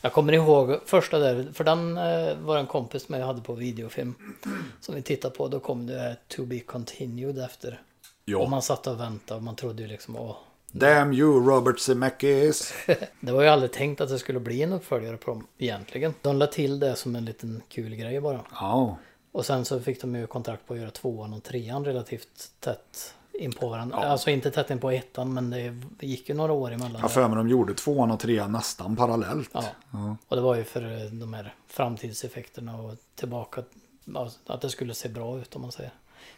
[SPEAKER 2] Jag kommer ihåg första där, för den eh, var en kompis med jag hade på videofilm. Som vi tittade på, då kom det här To Be Continued efter. Och
[SPEAKER 1] Ja.
[SPEAKER 2] man satt och väntade och man trodde ju liksom, åh.
[SPEAKER 1] Damn you, Robert Zemeckis.
[SPEAKER 2] Det var ju aldrig tänkt att det skulle bli en uppföljare på dem egentligen. De la till det som en liten kul grej bara.
[SPEAKER 1] Ja,
[SPEAKER 2] Och sen så fick de ju kontrakt på att göra tvåan och trean relativt tätt in på varandra. Alltså inte tätt in på ettan men det gick ju några år emellan.
[SPEAKER 1] jag har för mig de gjorde tvåan och trean nästan parallellt.
[SPEAKER 2] Ja. Och det var ju för eh, de här framtidseffekterna och tillbaka. alltså, Att det skulle se bra ut om man säger.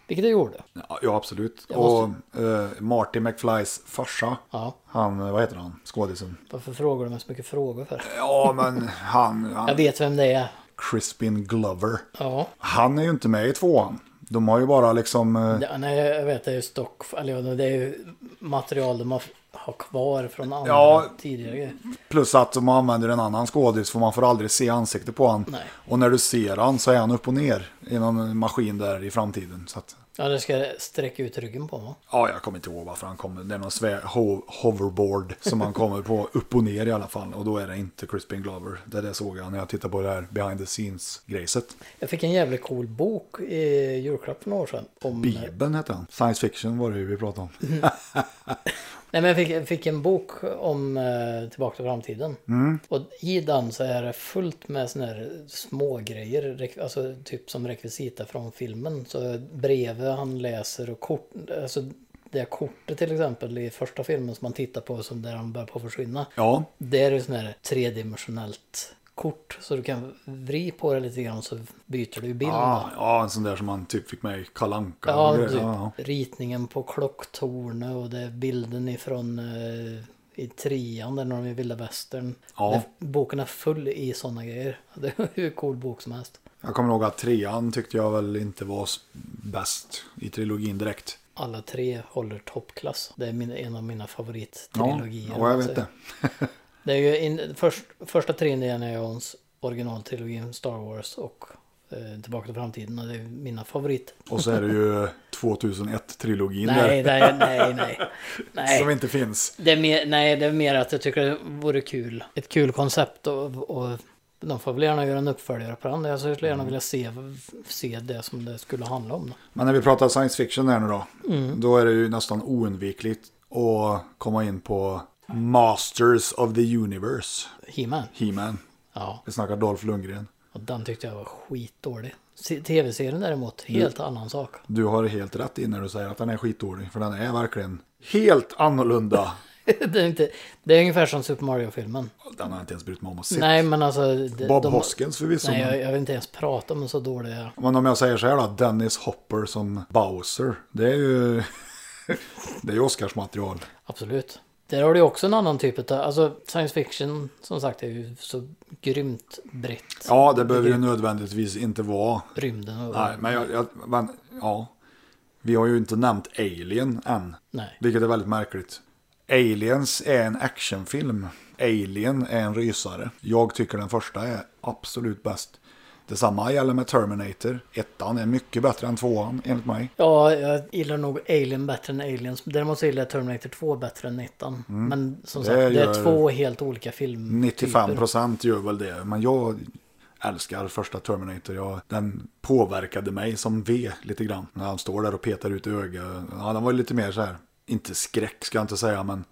[SPEAKER 2] Vilket det gjorde.
[SPEAKER 1] Ja, ja absolut.
[SPEAKER 2] Jag måste-
[SPEAKER 1] Och eh, Marty McFlys farsa,
[SPEAKER 2] Ja.
[SPEAKER 1] han, eh, vad heter han, skådisen?
[SPEAKER 2] Varför frågar du mig så mycket frågor för?
[SPEAKER 1] Ja, men han,
[SPEAKER 2] Jag
[SPEAKER 1] han
[SPEAKER 2] vet vem det är.
[SPEAKER 1] Crispin Glover.
[SPEAKER 2] Ja.
[SPEAKER 1] Han är ju inte med i tvåan. De har ju bara liksom, eh,
[SPEAKER 2] Det, nej, jag vet det är ju stock. Eller ja, det är ju material de har, har kvar från andra
[SPEAKER 1] Ja.
[SPEAKER 2] tidigare grejer.
[SPEAKER 1] plus att de använder en annan skådis för man får aldrig se ansiktet på han.
[SPEAKER 2] Nej.
[SPEAKER 1] Och när du ser han så är han upp och ner i någon maskin där i framtiden. Så att,
[SPEAKER 2] Ja, det ska jag sträcka ut ryggen på va?
[SPEAKER 1] ja, jag kommer inte ihåg varför han kommer. Det är någon svä- ho- hoverboard som han kommer på upp och ner i alla fall. Och då är det inte Crispin Glover. Det där såg jag när jag tittade på det här behind the scenes-grejset.
[SPEAKER 2] Jag fick en jävligt cool bok i julklapp för några år sedan. Om,
[SPEAKER 1] Bibeln hette den. Science fiction var det ju vi pratade om.
[SPEAKER 2] Nej, men jag fick, jag fick en bok om eh, Tillbaka till framtiden. Och i den så är det fullt med såna här små grejer, rek- alltså typ som rekvisita från filmen. Så brev han läser och kort, alltså det kortet till exempel i första filmen som man tittar på som där han börjar på att försvinna.
[SPEAKER 1] Ja,
[SPEAKER 2] Det är ju sån här tredimensionellt kort så du kan vri på det lite grann så byter du bild.
[SPEAKER 1] ja, Ah, ja, en sån där som man typ fick med i Kalle Anka. och
[SPEAKER 2] Ja,
[SPEAKER 1] grejer.
[SPEAKER 2] typ.
[SPEAKER 1] ja,
[SPEAKER 2] Ritningen på klocktornet och det är bilden ifrån eh, i trean där när de är i vilda västern.
[SPEAKER 1] Ja.
[SPEAKER 2] Det- Boken är full i sådana grejer. (laughs) Det är hur cool bok som helst.
[SPEAKER 1] Jag kommer ihåg att trean tyckte jag väl inte var s- bäst i trilogin direkt.
[SPEAKER 2] Alla tre håller toppklass. Det är min, en av mina
[SPEAKER 1] Ja,
[SPEAKER 2] favorittrilogier. om
[SPEAKER 1] ja
[SPEAKER 2] man
[SPEAKER 1] jag vet
[SPEAKER 2] säger.
[SPEAKER 1] det.
[SPEAKER 2] Det är ju in, först, första trilogin är Jones originaltrilogin Star Wars och eh, Tillbaka till framtiden. Och det är mina favorit.
[SPEAKER 1] Och så är det ju 2001-trilogin där.
[SPEAKER 2] Nej, nej, nej, nej.
[SPEAKER 1] (laughs)
[SPEAKER 2] nej.
[SPEAKER 1] Som inte finns.
[SPEAKER 2] Det är mer, nej, det är mer att jag tycker det vore kul. Ett kul koncept och, och de får väl gärna göra en uppföljare på den. Jag skulle
[SPEAKER 1] Mm.
[SPEAKER 2] gärna vilja se, se det som det skulle handla om.
[SPEAKER 1] Men när vi pratar science fiction här nu då.
[SPEAKER 2] Mm.
[SPEAKER 1] Då är det ju nästan oundvikligt att komma in på Masters of the Universe.
[SPEAKER 2] He-Man.
[SPEAKER 1] He-Man.
[SPEAKER 2] Ja,
[SPEAKER 1] Vi snackar Dolph Lundgren.
[SPEAKER 2] och den tyckte jag var skitdålig. Se- Tv-serien däremot,
[SPEAKER 1] Mm.
[SPEAKER 2] helt annan sak. (laughs)
[SPEAKER 1] Du har helt rätt i när du säger att den är skitdålig, för den är verkligen helt annorlunda. (laughs)
[SPEAKER 2] det, är inte, det är ungefär som Super Mario-filmen.
[SPEAKER 1] Den har jag inte ens brytt mig om att se.
[SPEAKER 2] Nej, men alltså... det-
[SPEAKER 1] Bob
[SPEAKER 2] de-
[SPEAKER 1] Hoskins förvisso.
[SPEAKER 2] Nej,
[SPEAKER 1] men-
[SPEAKER 2] jag, jag vill inte ens prata om en så dålig...
[SPEAKER 1] Men om jag säger så här då, Dennis Hopper (laughs) som Bowser. Det är ju, det är ju Oscarsmaterial.
[SPEAKER 2] Absolut. Där har du ju också en annan typ av, alltså science fiction som sagt är ju så grymt brett.
[SPEAKER 1] Ja, det behöver ju nödvändigtvis inte vara.
[SPEAKER 2] Rymden och...
[SPEAKER 1] Nej, men jag, jag men, ja. Vi har ju inte nämnt Alien än.
[SPEAKER 2] Nej.
[SPEAKER 1] Vilket är väldigt märkligt. Aliens är en actionfilm. Alien är en rysare. Jag tycker den första är absolut bäst. Detsamma gäller med Terminator. Ettan är mycket bättre än tvåan enligt mig.
[SPEAKER 2] Ja, jag gillar nog Alien bättre än Aliens. Däremot så gillar jag Terminator 2 bättre än 19. Men som
[SPEAKER 1] Mm. Det
[SPEAKER 2] sagt, det
[SPEAKER 1] gör-
[SPEAKER 2] är två helt olika filmer.
[SPEAKER 1] 95% gör väl det, men jag älskar första Terminator. Jag, den påverkade mig som V lite grann. När han står där och petar ut öga. Ja, den var ju lite mer så här, inte skräck ska jag inte säga, men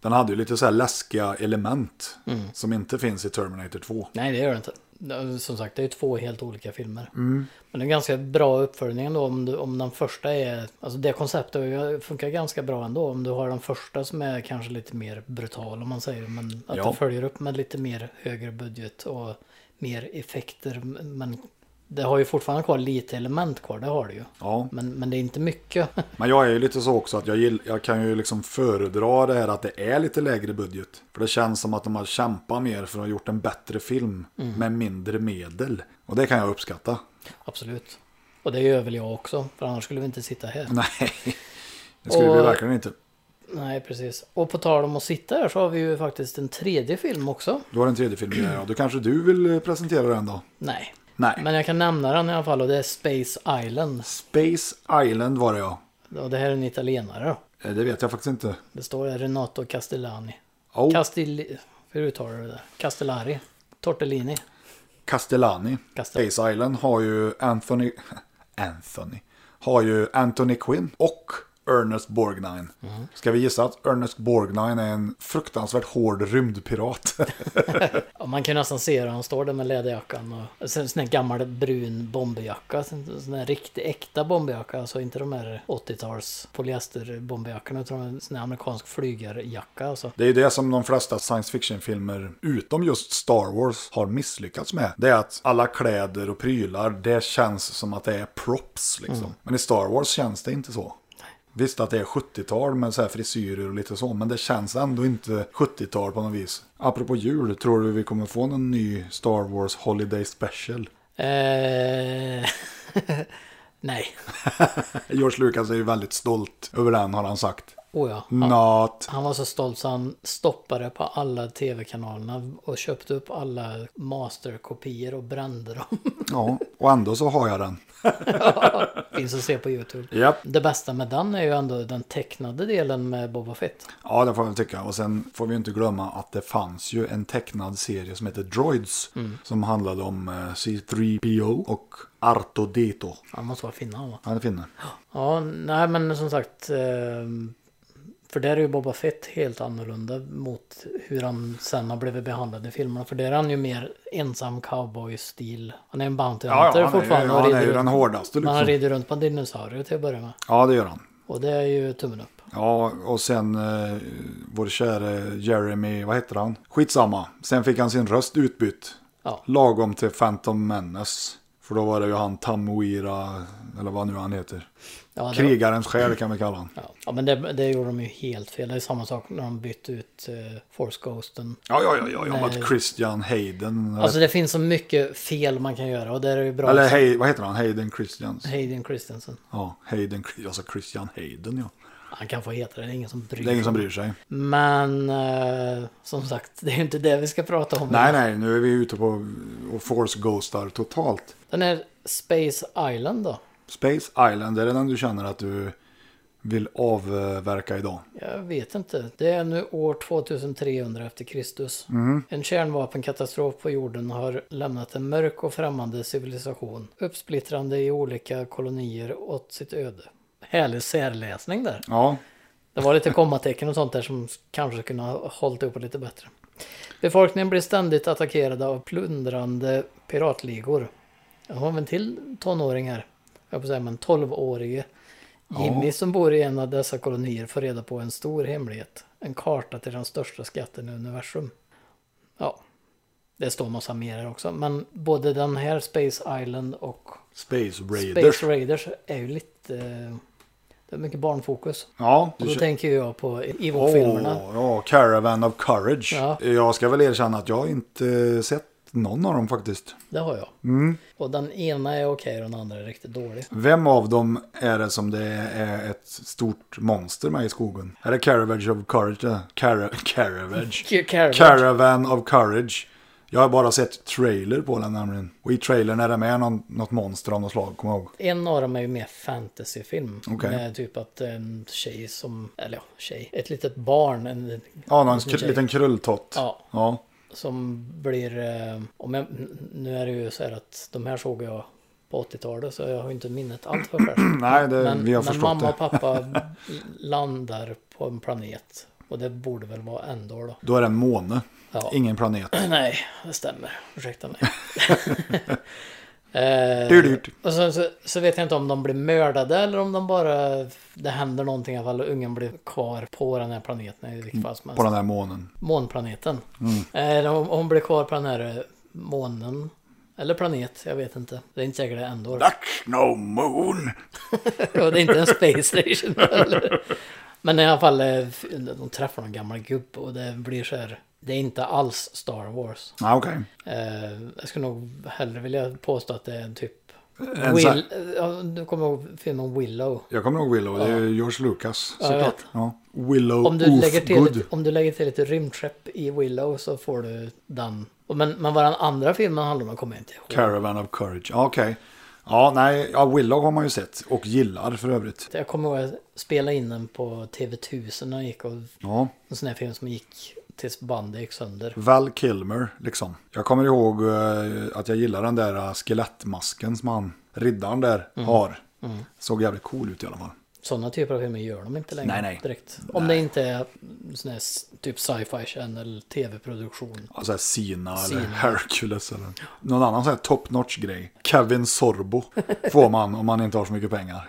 [SPEAKER 1] den hade ju lite så här läskiga element som inte finns i Terminator 2.
[SPEAKER 2] Nej, det gör det inte. Det- Som sagt, det är två helt olika filmer.
[SPEAKER 1] Mm.
[SPEAKER 2] Men det är ganska bra uppföljning ändå om, du, om den första är... Alltså det konceptet har ju- funkar ganska bra ändå. Om du har den första som är kanske lite mer brutal om man säger. Men att
[SPEAKER 1] Ja.
[SPEAKER 2] den följer upp med lite mer högre budget och mer effekter. Men det har ju fortfarande kvar lite element kvar, det har det ju.
[SPEAKER 1] Ja,
[SPEAKER 2] Men, men det är inte mycket. (laughs)
[SPEAKER 1] men jag är ju lite så också att jag, gill, jag kan ju liksom föredra det här att det är lite lägre budget. För det känns som att de har kämpat mer för att ha gjort en bättre film med mindre medel. Och det kan jag uppskatta.
[SPEAKER 2] Absolut. Och det gör väl jag också. För annars skulle vi inte sitta här.
[SPEAKER 1] (laughs) Nej, det skulle vi
[SPEAKER 2] Och-
[SPEAKER 1] verkligen inte.
[SPEAKER 2] Nej, precis. Och på tal om att sitta här så har vi ju faktiskt en tredje film också.
[SPEAKER 1] Du har en tredje film ja. Då kanske du vill eh, presentera den då?
[SPEAKER 2] Nej.
[SPEAKER 1] Nej.
[SPEAKER 2] Men jag kan nämna den i alla fall och det är Space Island.
[SPEAKER 1] Space Island var det ja.
[SPEAKER 2] Och det här är en italienare då.
[SPEAKER 1] Eh, Det vet jag faktiskt inte.
[SPEAKER 2] Det står här Renato Castellani.
[SPEAKER 1] Oh,
[SPEAKER 2] Castelli... Hur uttalar du det? där? Castellari? Tortellini?
[SPEAKER 1] Castellani.
[SPEAKER 2] Castel...
[SPEAKER 1] Space Island har ju Anthony... (laughs) Anthony. Har ju Anthony Quinn och Ernest Borgnine.
[SPEAKER 2] Mhm.
[SPEAKER 1] Ska vi gissa att Ernest Borgnine är en fruktansvärt hård rymdpirat? (laughs)
[SPEAKER 2] Ja, man kan ju nästan se hur han står där med läderjackan och sen sån här gammal brun bomberjacka. Sån sån här riktig äkta bomberjacka. Alltså inte de här 80-tals polyesterbombejackorna utan en sån här amerikansk flygarjacka. Alltså.
[SPEAKER 1] Det är ju det som de flesta science fiction-filmer, utom just Star Wars, har misslyckats med. Det är att alla kläder och prylar, det känns som att det är props liksom. Men i Star Wars känns det inte så. Visst att det är 70-tal med så här frisyrer och lite så, men det känns ändå inte 70-tal på något vis. Apropå jul, tror du vi kommer få någon ny Star Wars Holiday Special? (laughs)
[SPEAKER 2] Eh... (laughs) Nej.
[SPEAKER 1] George Lucas är ju väldigt stolt över den har han sagt.
[SPEAKER 2] Oh ja. Han-
[SPEAKER 1] Not.
[SPEAKER 2] Han var så stolt så han stoppade på alla tv-kanalerna och köpte upp alla masterkopior och brände dem. (laughs)
[SPEAKER 1] Ja, och ändå så har jag den.
[SPEAKER 2] Finns att se på YouTube.
[SPEAKER 1] Japp.
[SPEAKER 2] Det bästa med den är ju ändå den tecknade delen med Boba Fett.
[SPEAKER 1] Ja, det får jag väl tycka. Och sen får vi ju inte glömma att det fanns ju en tecknad serie som heter Droids.
[SPEAKER 2] Mm.
[SPEAKER 1] Som handlade om eh, C3PO och Arto Dito.
[SPEAKER 2] Han måste vara finna han va?
[SPEAKER 1] Han är finne.
[SPEAKER 2] Ja, nej men som sagt. ehm, För där är ju Boba Fett helt annorlunda mot hur han sen har blivit behandlad i filmerna. För där är han ju mer ensam cowboy-stil. Han är en bounty hunter
[SPEAKER 1] han är,
[SPEAKER 2] fortfarande.
[SPEAKER 1] ju-
[SPEAKER 2] och
[SPEAKER 1] han är
[SPEAKER 2] rider
[SPEAKER 1] ju
[SPEAKER 2] runt-
[SPEAKER 1] den hårdaste
[SPEAKER 2] Men han
[SPEAKER 1] liksom.
[SPEAKER 2] rider runt på dinosaurier till att börja med.
[SPEAKER 1] Ja, det gör han.
[SPEAKER 2] Och det är ju tummen upp.
[SPEAKER 1] Ja, och sen eh, vår käre Jeremy, vad heter han? Skitsamma. Sen fick han sin röst utbytt.
[SPEAKER 2] Ja.
[SPEAKER 1] Lagom till Phantom Menace. För då var det ju han Tamuira, eller vad nu han heter.
[SPEAKER 2] Ja, det-
[SPEAKER 1] Krigarens själ kan vi kalla han.
[SPEAKER 2] Ja, ja men det, det gjorde de ju helt fel. Det är samma sak när de bytte ut eh, Force Ghosten.
[SPEAKER 1] Ja, ja, ja, ja, ja.
[SPEAKER 2] Nej.
[SPEAKER 1] med Christian Hayden.
[SPEAKER 2] Alltså det finns så mycket fel man kan göra och där är det bra.
[SPEAKER 1] Eller hej, vad heter han? Hayden Christians.
[SPEAKER 2] Hayden Christensen.
[SPEAKER 1] Ja, Hayden, alltså Christian Hayden ja.
[SPEAKER 2] Han kan få heta det, det är ingen som bryr
[SPEAKER 1] Det är
[SPEAKER 2] sig.
[SPEAKER 1] ingen som bryr sig.
[SPEAKER 2] Men eh, som sagt, det är ju inte det vi ska prata om.
[SPEAKER 1] Nej, nej, nu är vi ute på och Force Ghostar totalt.
[SPEAKER 2] Den här Space Island då.
[SPEAKER 1] Space Island, är det den du känner att du vill avverka idag?
[SPEAKER 2] Jag vet inte. Det är nu år 2300 efter Kristus. En kärnvapenkatastrof på jorden har lämnat en mörk och främmande civilisation uppsplittrande i olika kolonier åt sitt öde. Härlig särläsning där.
[SPEAKER 1] Ja,
[SPEAKER 2] Det var lite kommatecken och sånt där som kanske kunde ha hållit upp lite bättre. Befolkningen blir ständigt attackerad av plundrande piratligor. Jag har en till tonåring här. Jag får säga, men 12-årige. Jimmy som bor i en av dessa kolonier får reda på en stor hemlighet. En karta till den största skatten i universum. Ja, det står massa mer här också. Men både den här Space Island och
[SPEAKER 1] Space Raiders.
[SPEAKER 2] Space Raiders är ju lite... eh, Det är mycket barnfokus.
[SPEAKER 1] Ja,
[SPEAKER 2] Och då
[SPEAKER 1] du kö-
[SPEAKER 2] tänker ju jag på Ewok-filmerna.
[SPEAKER 1] Åh, ja, Caravan of Courage.
[SPEAKER 2] Ja.
[SPEAKER 1] Jag ska väl erkänna att jag inte sett någon av dem faktiskt.
[SPEAKER 2] Det har jag.
[SPEAKER 1] Mm.
[SPEAKER 2] Och den ena är okej och den andra är riktigt dålig.
[SPEAKER 1] Vem av dem är det som det är ett stort monster med i skogen? Är det Caravage of Courage? det? Cara (laughs) Caravage.
[SPEAKER 2] Caravan.
[SPEAKER 1] Caravan of Courage. Jag har bara sett trailer på den nämligen. Och i trailern är det med någon, något monster av något slag, kommer jag ihåg.
[SPEAKER 2] En av dem är ju mer fantasyfilm.
[SPEAKER 1] Okej.
[SPEAKER 2] Med typ att en tjej som, eller ja, tjej, ett litet barn en,
[SPEAKER 1] Ja, någon
[SPEAKER 2] Som en
[SPEAKER 1] kr-
[SPEAKER 2] tjej.
[SPEAKER 1] liten krulltott.
[SPEAKER 2] ja,
[SPEAKER 1] Ja. (clears throat)
[SPEAKER 2] som blir, eh, om jag, nu är det ju så här att de här såg jag på 80-talet så jag har ju inte minnet allt för
[SPEAKER 1] (clears throat)
[SPEAKER 2] färskt.
[SPEAKER 1] Nej, det,
[SPEAKER 2] Men,
[SPEAKER 1] Eh, vi har
[SPEAKER 2] men
[SPEAKER 1] förstått
[SPEAKER 2] mamma
[SPEAKER 1] det. (laughs)
[SPEAKER 2] och pappa landar på en planet. Och det borde väl vara Endor då.
[SPEAKER 1] Då är det en måne.
[SPEAKER 2] Ja.
[SPEAKER 1] Ingen planet.
[SPEAKER 2] (clears throat) Nej, det stämmer.
[SPEAKER 1] (laughs)
[SPEAKER 2] Ursäkta mig. eh,
[SPEAKER 1] Dyrt, dyrt.
[SPEAKER 2] och så, så, så vet jag inte om de blir mördade eller om de bara... Det händer någonting i alla fall och ungen blir kvar på den här planeten i vilket fall som helst.
[SPEAKER 1] Mm, På Mm. den här månen.
[SPEAKER 2] Månplaneten. Eh, hon, hon blir kvar på den här eh, månen. Eller planet, jag vet inte. Det är inte säkert det är ändå.
[SPEAKER 1] That's no moon.
[SPEAKER 2] (laughs) Och det är inte
[SPEAKER 1] (laughs)
[SPEAKER 2] en space station heller. Men i alla fall, eh, de träffar någon gammal gubbe och det blir så här. Det är inte alls Star Wars.
[SPEAKER 1] Ah, Okej.
[SPEAKER 2] Eh, jag skulle nog hellre vilja påstå att det är en typ...
[SPEAKER 1] En sån
[SPEAKER 2] Will,
[SPEAKER 1] här-
[SPEAKER 2] eh, ja, du kommer ihåg filmen Willow.
[SPEAKER 1] Jag kommer ihåg Willow. Det är ju George Lucas.
[SPEAKER 2] Ja,
[SPEAKER 1] såklart.
[SPEAKER 2] jag vet.
[SPEAKER 1] Ja. Willow
[SPEAKER 2] Om du,
[SPEAKER 1] Oof
[SPEAKER 2] lägger till
[SPEAKER 1] Good.
[SPEAKER 2] lite, om du lägger till lite rymdskepp i Willow så får du den. Och Men, men vad den andra filmen handlar om jag kommer jag inte ihåg.
[SPEAKER 1] Caravan of Courage. Ja, Okej. Ja, nej. Ja, Willow har man ju sett. Och gillar för övrigt.
[SPEAKER 2] Jag kommer ihåg att jag spelade in den på TV1000 när jag gick och...
[SPEAKER 1] Ja.
[SPEAKER 2] En sån här film som gick tills bandet gick sönder.
[SPEAKER 1] Val Kilmer, liksom. Jag kommer ihåg eh, att jag gillar den där eh, skelettmasken som han, riddaren där,
[SPEAKER 2] Mm.
[SPEAKER 1] har. Såg jävligt cool ut i alla fall.
[SPEAKER 2] Sådana typer av filmer gör de inte längre
[SPEAKER 1] Nej, nej.
[SPEAKER 2] direkt. Om det inte är sån här s- typ sci-fi channel tv-produktion.
[SPEAKER 1] Alltså här Sina eller
[SPEAKER 2] Sina.
[SPEAKER 1] Hercules eller någon annan sån här top notch grej. Kevin Sorbo får man om man inte har så mycket pengar.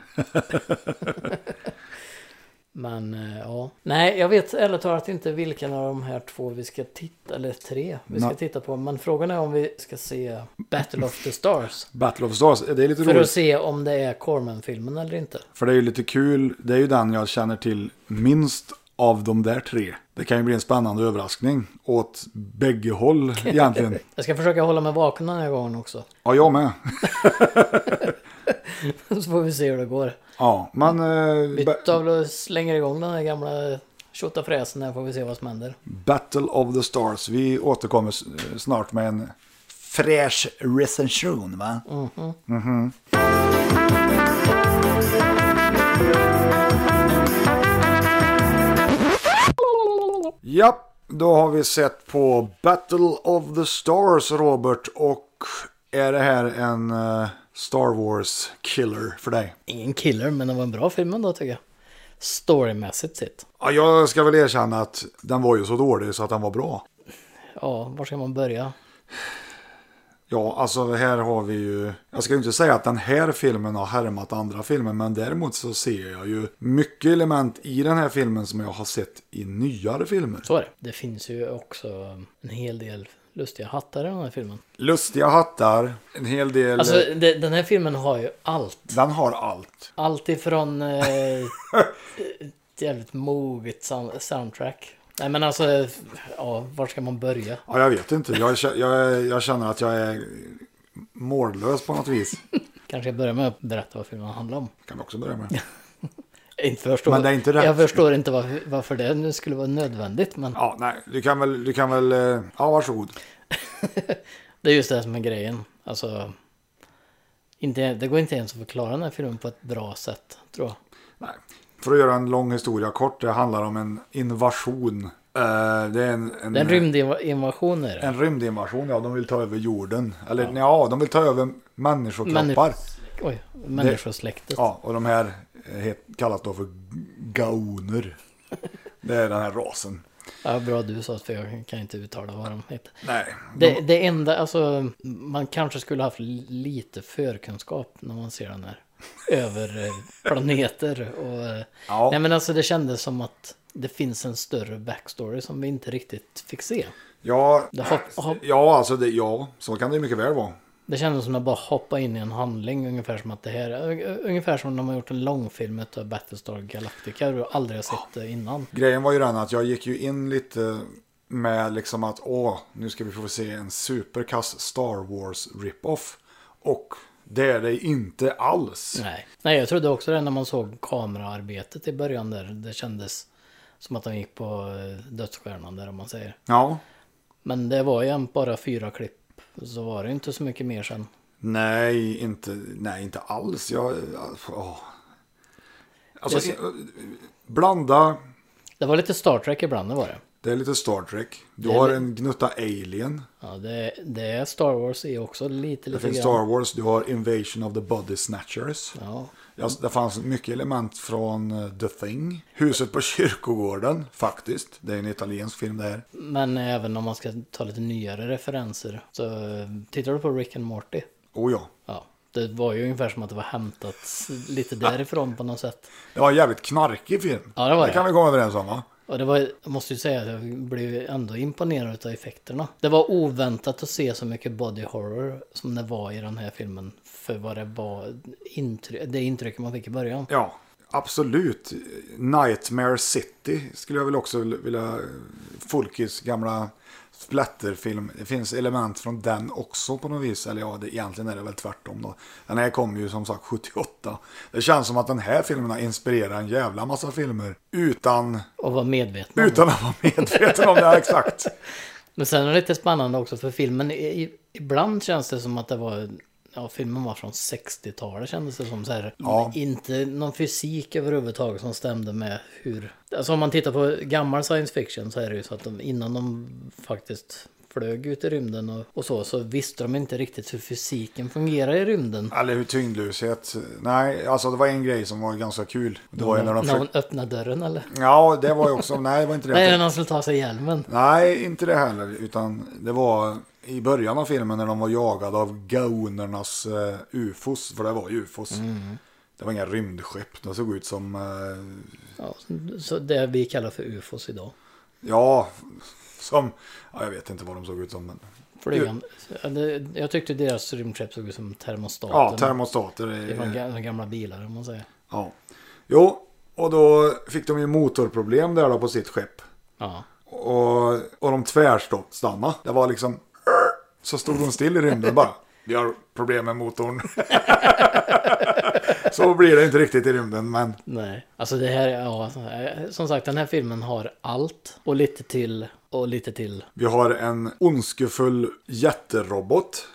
[SPEAKER 2] Men eh, ja. Nej, jag vet ärligt talat inte vilken av de här två vi ska titta, eller tre vi ska
[SPEAKER 1] Nej.
[SPEAKER 2] titta på. Men frågan är om vi ska se Battle of the Stars.
[SPEAKER 1] Battle of Stars, det är lite
[SPEAKER 2] För
[SPEAKER 1] roligt.
[SPEAKER 2] att se om det är Corman-filmen eller inte.
[SPEAKER 1] För det är ju lite kul, det är ju den jag känner till minst av de där tre. Det kan ju bli en spännande överraskning åt bägge
[SPEAKER 2] (laughs)
[SPEAKER 1] håll egentligen.
[SPEAKER 2] Jag ska försöka hålla mig vaken den här gången också. (laughs)
[SPEAKER 1] Ja, jag med.
[SPEAKER 2] Så får vi se hur det går.
[SPEAKER 1] Ja, men...
[SPEAKER 2] Vi
[SPEAKER 1] Eh, ba-
[SPEAKER 2] tar väl och slänger igång den här gamla tjottafräsen här får vi se vad som händer.
[SPEAKER 1] Battle of the Stars. Vi återkommer s- snart med en fräsch recension, va? Mhm. Ja, då har vi sett på Battle of the Stars, Robert. Och är det här en eh, Star Wars-killer för dig?
[SPEAKER 2] Ingen killer, men det var en bra film ändå tycker jag. Storymässigt sett.
[SPEAKER 1] Ja, jag ska väl erkänna att den var ju så dålig så att den var bra.
[SPEAKER 2] Ja, var ska man börja?
[SPEAKER 1] Ja, alltså här har vi ju... Jag ska ju inte säga att den här filmen har härmat andra filmer, men däremot så ser jag ju mycket element i den här filmen som jag har sett i nyare filmer.
[SPEAKER 2] Så är det. Det finns ju också en hel del lustiga hattar i den här filmen.
[SPEAKER 1] Lustiga hattar, en hel del...
[SPEAKER 2] Alltså det, den här filmen har ju allt.
[SPEAKER 1] Den har allt.
[SPEAKER 2] Allt
[SPEAKER 1] (laughs)
[SPEAKER 2] ifrån eh, ett jävligt moget sound- soundtrack. Nej men alltså, eh, ja, var ska man börja?
[SPEAKER 1] Ja, jag vet inte. Jag, kä- jag, jag känner att jag är mållös på något vis.
[SPEAKER 2] Kanske jag börjar med att berätta vad filmen handlar om.
[SPEAKER 1] Kan vi också börja
[SPEAKER 2] (laughs)
[SPEAKER 1] med.
[SPEAKER 2] Jag Inte förstår,
[SPEAKER 1] Men det är inte rätt.
[SPEAKER 2] Jag förstår inte varför, varför det nu skulle vara nödvändigt. Men
[SPEAKER 1] Ja, nej, du kan väl... Du kan väl eh, ja, varsågod.
[SPEAKER 2] det är just det som är grejen. Alltså, inte, det går inte ens att förklara den här filmen på ett bra sätt, tror jag.
[SPEAKER 1] Nej. För att göra en lång historia kort, det handlar om en invasion. Eh, det är en... en
[SPEAKER 2] Det är en rymdinvasion är det.
[SPEAKER 1] En rymdinvasion, ja. De vill ta över jorden. Eller ja, de vill ta över människokroppar.
[SPEAKER 2] Oj, människosläktet.
[SPEAKER 1] ja, och de här eh, het- kallas då för
[SPEAKER 2] (laughs)
[SPEAKER 1] gaoner. Det är den här rasen.
[SPEAKER 2] Ja, bra du sa det, för jag kan inte uttala vad de heter.
[SPEAKER 1] Nej,
[SPEAKER 2] Det, det enda, alltså, man kanske skulle haft lite förkunskap när man ser den här. Över eh, planeter och... eh,
[SPEAKER 1] Ja.
[SPEAKER 2] Nej men alltså det kändes som att det finns en större backstory som vi inte riktigt fick se.
[SPEAKER 1] ja,
[SPEAKER 2] Det har- har-
[SPEAKER 1] ja alltså det, ja, så kan det mycket väl vara.
[SPEAKER 2] Det kändes som att bara hoppa in i en handling ungefär som att det här, eh, ungefär som när man gjort en långfilm utav Battlestar Galactica du aldrig har sett det innan.
[SPEAKER 1] Grejen var ju den att jag gick ju in lite med liksom att åh, nu ska vi få se en superkass Star Wars rip-off. Och det är det inte alls.
[SPEAKER 2] Nej. Nej, jag trodde också det när man såg kameraarbetet i början där. Det kändes som att de gick på eh, dödsstjärnan där om man säger.
[SPEAKER 1] Ja,
[SPEAKER 2] Men det var ju bara fyra klipp. Så var det ju inte så mycket mer sen.
[SPEAKER 1] nej, inte, nej, inte alls. Jag, åh. Alltså,
[SPEAKER 2] Jag
[SPEAKER 1] blanda,
[SPEAKER 2] Det var lite Star Trek ibland, det var det.
[SPEAKER 1] det är lite Star Trek. Du
[SPEAKER 2] Det är
[SPEAKER 1] har
[SPEAKER 2] li-
[SPEAKER 1] en gnutta Alien.
[SPEAKER 2] Ja, det, det är Star Wars i också lite,
[SPEAKER 1] Det
[SPEAKER 2] lite
[SPEAKER 1] finns Star Wars, du har Invasion of the Body Snatchers.
[SPEAKER 2] Ja.
[SPEAKER 1] Ja, det fanns mycket element från eh, The Thing. Huset på (laughs) kyrkogården, faktiskt. Det är en italiensk film det här.
[SPEAKER 2] Men även om man ska ta lite nyare referenser. Så eh, tittar du på Rick and Morty?
[SPEAKER 1] Oh ja.
[SPEAKER 2] Ja. Det var ju ungefär som att det var hämtat
[SPEAKER 1] (laughs)
[SPEAKER 2] lite därifrån på något sätt.
[SPEAKER 1] Det var en jävligt knarkig film.
[SPEAKER 2] Ja, det var
[SPEAKER 1] det
[SPEAKER 2] det.
[SPEAKER 1] kan vi komma överens om va?
[SPEAKER 2] Och det var, jag måste ju säga att jag blev ändå imponerad av effekterna. Det var oväntat att se så mycket body horror som det var i den här filmen. För vad det var, intry- det intrycket man fick i början.
[SPEAKER 1] Ja, absolut. Nightmare City skulle jag väl också vilja... Fulkis gamla splatterfilm. Det finns element från den också på något vis. Eller ja, det, egentligen är det väl tvärtom då. Den här kom ju som sagt 78. Det känns som att den här filmen har inspirerat en jävla massa filmer. Utan,
[SPEAKER 2] Och var medveten om det.
[SPEAKER 1] utan att vara medveten om det här exakt.
[SPEAKER 2] Men sen är det lite spännande också för filmen, i- i- ibland känns det som att det var, ja filmen var från 60-talet kändes det som så här.
[SPEAKER 1] Ja.
[SPEAKER 2] Inte någon fysik överhuvudtaget som stämde med hur, alltså om man tittar på gammal science fiction så är det ju så att de, innan de faktiskt flög ut i rymden och, och så, så visste de inte riktigt hur fysiken fungerar i rymden.
[SPEAKER 1] (laughs) Eller hur tyngdlöshet. Nej, alltså det var en grej som var ganska kul. Det var ju när de
[SPEAKER 2] När hon
[SPEAKER 1] försökte...
[SPEAKER 2] öppnade dörren eller?
[SPEAKER 1] Ja, det var ju också... Nej, det var inte det.
[SPEAKER 2] Nej, när de skulle ta sig hjälmen.
[SPEAKER 1] Nej, inte det heller. Utan det var i början av filmen när de var jagade av gaonernas eh, ufos. För det var ju ufos. Det var inga rymdskepp. De såg ut som, eh,
[SPEAKER 2] Ja, så det vi kallar för ufos idag.
[SPEAKER 1] ja, som, ja, jag vet inte vad de såg ut som. Men,
[SPEAKER 2] Flygande. Ja, det- Jag tyckte deras rymdskepp såg ut som termostater.
[SPEAKER 1] ja, termostater.
[SPEAKER 2] det var
[SPEAKER 1] är-
[SPEAKER 2] ga- gamla bilar om man säger.
[SPEAKER 1] Ja. Jo, och då fick de ju motorproblem där då på sitt skepp.
[SPEAKER 2] Ja.
[SPEAKER 1] Och, och de tvärstannade. Det var liksom, så stod de still i rymden bara. Vi har problem med motorn. (laughs) så blir det inte riktigt i rymden, men
[SPEAKER 2] Nej. Alltså det här, ja. Som sagt, den här filmen har allt. Och lite till. Och lite till.
[SPEAKER 1] vi har en ondskefull jätterobot.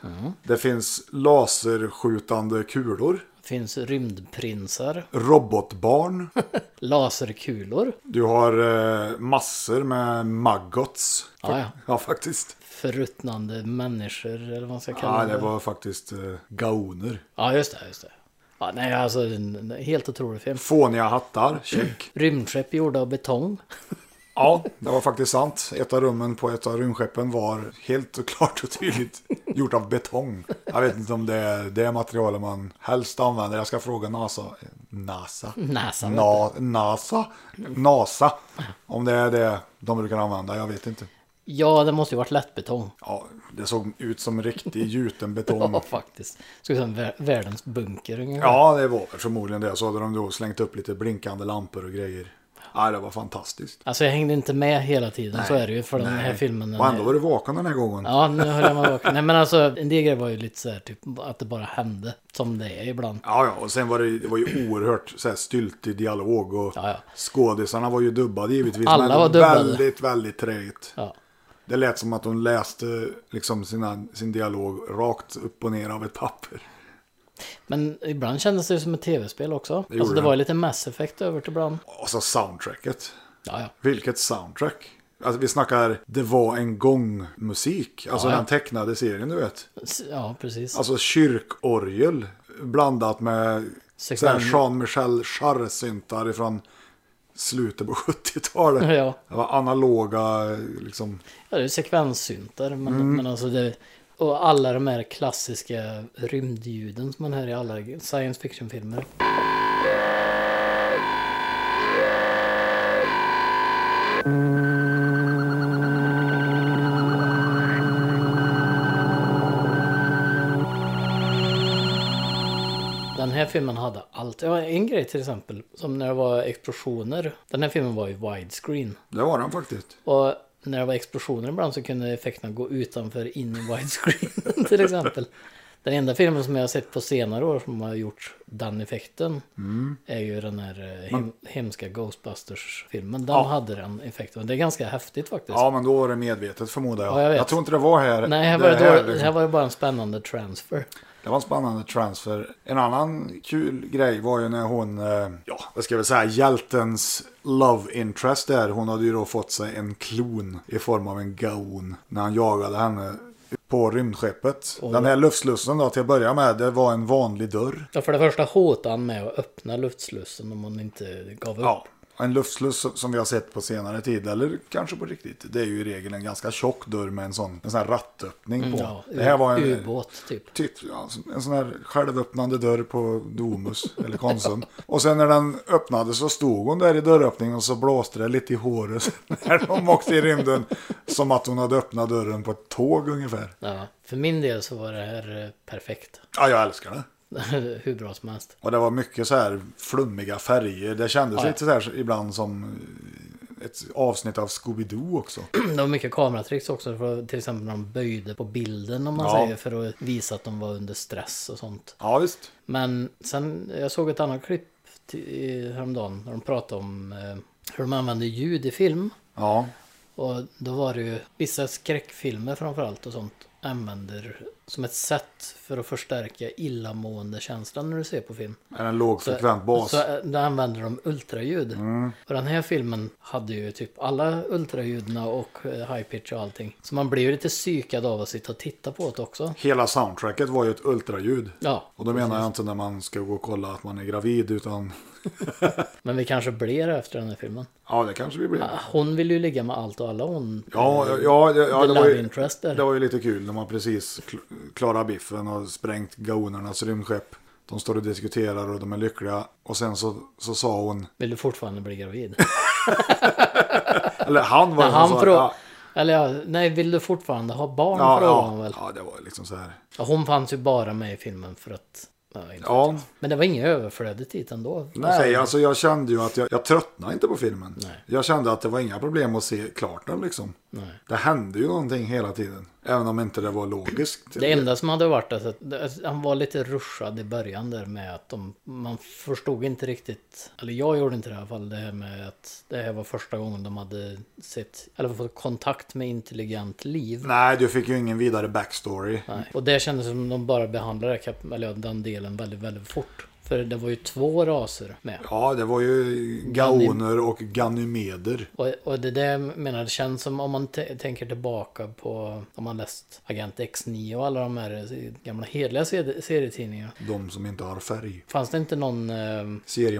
[SPEAKER 1] Det finns laserskjutande kulor.
[SPEAKER 2] Finns rymdprinsar.
[SPEAKER 1] Robotbarn.
[SPEAKER 2] Laserkulor.
[SPEAKER 1] Du har eh, massor med maggots.
[SPEAKER 2] Ja, ja.
[SPEAKER 1] ja faktiskt.
[SPEAKER 2] Förruttnande människor eller vad man ska kalla
[SPEAKER 1] Ja, det var faktiskt eh, gaoner.
[SPEAKER 2] Ja, just det. Just det. Ja, nej, alltså en en helt otrolig film.
[SPEAKER 1] Fåniga hattar, check.
[SPEAKER 2] Rymdskepp gjorda av betong. (laughs)
[SPEAKER 1] Ja, det var faktiskt sant. Ett av rummen på ett av rymdskeppen var helt (laughs) och klart och tydligt gjort av betong. Jag vet inte om det är det materialet man helst använder. Jag ska fråga NASA. NASA?
[SPEAKER 2] Näsan.
[SPEAKER 1] Na, NASA? NASA? Om det är det de brukar använda, jag vet inte.
[SPEAKER 2] Ja, det måste ju varit lättbetong.
[SPEAKER 1] Ja, det såg ut som riktig gjuten betong.
[SPEAKER 2] Ja, faktiskt. Såg ut som vär- världens bunker ungefär.
[SPEAKER 1] Mm. Ja, det var väl förmodligen det. Så hade de då slängt upp lite blinkande lampor och grejer. Ja, det var fantastiskt.
[SPEAKER 2] Alltså jag hängde inte med hela tiden, så är det ju för den här
[SPEAKER 1] Nej.
[SPEAKER 2] filmen. den
[SPEAKER 1] Och ändå
[SPEAKER 2] är-
[SPEAKER 1] var du vaken den här gången.
[SPEAKER 2] Ja, nu höll jag mig vaken. Nej men alltså, en del grejer var ju lite så här, typ att det bara hände. Som det är ibland.
[SPEAKER 1] Ja, ja, och sen var det, det var ju oerhört så här, styltig dialog och
[SPEAKER 2] Ja, ja.
[SPEAKER 1] skådisarna var ju dubbade givetvis.
[SPEAKER 2] Alla
[SPEAKER 1] men det
[SPEAKER 2] var dubbade.
[SPEAKER 1] Väldigt, väldigt träigt.
[SPEAKER 2] Ja.
[SPEAKER 1] Det lät som att de läste liksom, sina, sin dialog rakt upp och ner av ett papper.
[SPEAKER 2] Men ibland kändes det ju som ett tv-spel också.
[SPEAKER 1] gjorde
[SPEAKER 2] alltså det
[SPEAKER 1] det.
[SPEAKER 2] var ju lite Mass Effect över till ibland.
[SPEAKER 1] Och så soundtracket.
[SPEAKER 2] Ja, ja.
[SPEAKER 1] Vilket soundtrack. Alltså vi snackar det var en gång musik. Alltså
[SPEAKER 2] Ja, ja.
[SPEAKER 1] den tecknade serien du vet.
[SPEAKER 2] S- Ja, precis.
[SPEAKER 1] Alltså kyrkorgel blandat med
[SPEAKER 2] Sekven-
[SPEAKER 1] så här Jean-Michel Jarre-syntar från slutet på (laughs) 70-talet.
[SPEAKER 2] Ja.
[SPEAKER 1] Det var analoga liksom.
[SPEAKER 2] Ja, det är sekvenssyntar. Men, men alltså det... Och alla de här klassiska rymdljuden som man hör i alla science fiction-filmer. den här filmen hade allt. Ja, en grej till exempel, som när det var explosioner. Den här filmen var ju widescreen.
[SPEAKER 1] Det var den faktiskt.
[SPEAKER 2] Och när det var explosioner ibland så kunde effekterna gå utanför in i widescreen (laughs) till exempel. Den enda filmen som jag har sett på senare år som har gjort den effekten
[SPEAKER 1] Mm.
[SPEAKER 2] är ju den här eh, hem, hemska Ghostbusters-filmen. Den hade den effekten. Det är ganska häftigt faktiskt.
[SPEAKER 1] Ja, men då var det medvetet förmodar jag.
[SPEAKER 2] Ja, jag vet.
[SPEAKER 1] tror inte det var här.
[SPEAKER 2] Nej, här var det,
[SPEAKER 1] här,
[SPEAKER 2] då,
[SPEAKER 1] liksom.
[SPEAKER 2] här var det bara en spännande transfer.
[SPEAKER 1] Det var en spännande transfer. En annan kul grej var ju när hon, eh, ja, vad ska jag väl säga, hjältens love interest där. Hon hade ju då fått sig en klon i form av en gaon när han jagade henne på rymdskeppet. Den här luftslussen då till att börja med, det var en vanlig dörr.
[SPEAKER 2] Ja, för det första hotade han med att öppna luftslussen om hon inte gav upp.
[SPEAKER 1] Ja, en luftsluss som- som vi har sett på senare tid, eller kanske på riktigt, det är ju i regel en ganska tjock dörr med en sån, en sån här rattöppning på.
[SPEAKER 2] Mm, Ja,
[SPEAKER 1] det här var en...
[SPEAKER 2] ubåt typ.
[SPEAKER 1] Typ ja, en sån här självöppnande dörr på Domus (laughs) eller Konsum. Och sen när den öppnade så stod hon där i dörröppningen och så blåste det lite i håret (laughs) när de åkte i rymden. Som att hon hade öppnat dörren på ett tåg ungefär.
[SPEAKER 2] Ja, för min del så var det här eh, perfekt. (laughs)
[SPEAKER 1] Ja, jag älskar det.
[SPEAKER 2] Hur bra som helst.
[SPEAKER 1] Och det var mycket så här flummiga färger. Det kändes
[SPEAKER 2] Ja, ja.
[SPEAKER 1] lite så här ibland som ett avsnitt av Scooby-Doo också.
[SPEAKER 2] Det var mycket kameratricks också, för till exempel när de böjde på bilden om man
[SPEAKER 1] Ja.
[SPEAKER 2] säger, för att visa att de var under stress och sånt.
[SPEAKER 1] Ja, visst.
[SPEAKER 2] Men sen, jag såg ett annat klipp till, häromdagen, när de pratade om eh, hur de använder ljud i film.
[SPEAKER 1] Ja,
[SPEAKER 2] Och då var det ju vissa skräckfilmer framförallt och sånt använder som ett sätt för att förstärka illamående-känslan när du ser på film.
[SPEAKER 1] är en lågfrekvent bas.
[SPEAKER 2] Så eh, då använder de ultraljud.
[SPEAKER 1] Mm.
[SPEAKER 2] Och den här filmen hade ju typ alla ultraljudna och eh, high pitch och allting. Så man blir ju lite psykad av att sitta och titta på det också.
[SPEAKER 1] Hela soundtracket var ju ett ultraljud.
[SPEAKER 2] Ja,
[SPEAKER 1] Och då menar jag inte när man ska gå och kolla att man är gravid utan...
[SPEAKER 2] men vi kanske blir det efter den här filmen. Ah,
[SPEAKER 1] Ja, det kanske vi blir.
[SPEAKER 2] Hon vill ju ligga med allt och alla hon.
[SPEAKER 1] Ja, ja, ja, ja
[SPEAKER 2] The
[SPEAKER 1] det, var
[SPEAKER 2] love
[SPEAKER 1] ju,
[SPEAKER 2] interest där.
[SPEAKER 1] det var ju lite kul när man precis kl- klarar biffen och sprängt gaonernas rymdskepp. De står och diskuterar och de är lyckliga. Och sen så, så sa hon,
[SPEAKER 2] Vill du fortfarande
[SPEAKER 1] (laughs)
[SPEAKER 2] bli gravid?
[SPEAKER 1] eller han var
[SPEAKER 2] När
[SPEAKER 1] det som
[SPEAKER 2] han
[SPEAKER 1] sa,
[SPEAKER 2] frågade...
[SPEAKER 1] ja,
[SPEAKER 2] Eller ja, nej, vill du fortfarande ha barn?
[SPEAKER 1] ja,
[SPEAKER 2] frågade han
[SPEAKER 1] ja,
[SPEAKER 2] väl.
[SPEAKER 1] ja, det var liksom så här.
[SPEAKER 2] Ja, Hon fanns ju bara med i filmen för att... Ja, inte.
[SPEAKER 1] Ja,
[SPEAKER 2] Men det var inget överflödigt dit ändå.
[SPEAKER 1] nej, alltså jag kände ju att jag, jag tröttnade inte på filmen.
[SPEAKER 2] Nej.
[SPEAKER 1] Jag kände att det var inga problem att se klart den liksom.
[SPEAKER 2] Nej.
[SPEAKER 1] Det hände ju någonting hela tiden. Även om inte det var logiskt.
[SPEAKER 2] Det enda som hade varit alltså att att han var lite ruschad i början där med att de, man förstod inte riktigt, eller jag gjorde inte det i alla fall, det här med att det här var första gången de hade sett, eller fått kontakt med intelligent liv.
[SPEAKER 1] Nej, du fick ju ingen vidare backstory.
[SPEAKER 2] Nej. Och det kändes som de bara behandlade kap- eller ja, den delen väldigt, väldigt fort. För det var ju två raser med.
[SPEAKER 1] Ja, det var ju gaoner och ganymeder.
[SPEAKER 2] Och, och det där menar jag känns som om man t- tänker tillbaka på om man läst Agent X9 och alla de här eh, gamla hederliga sed- serietidningarna.
[SPEAKER 1] De som inte har färg.
[SPEAKER 2] Fanns det inte någon eh,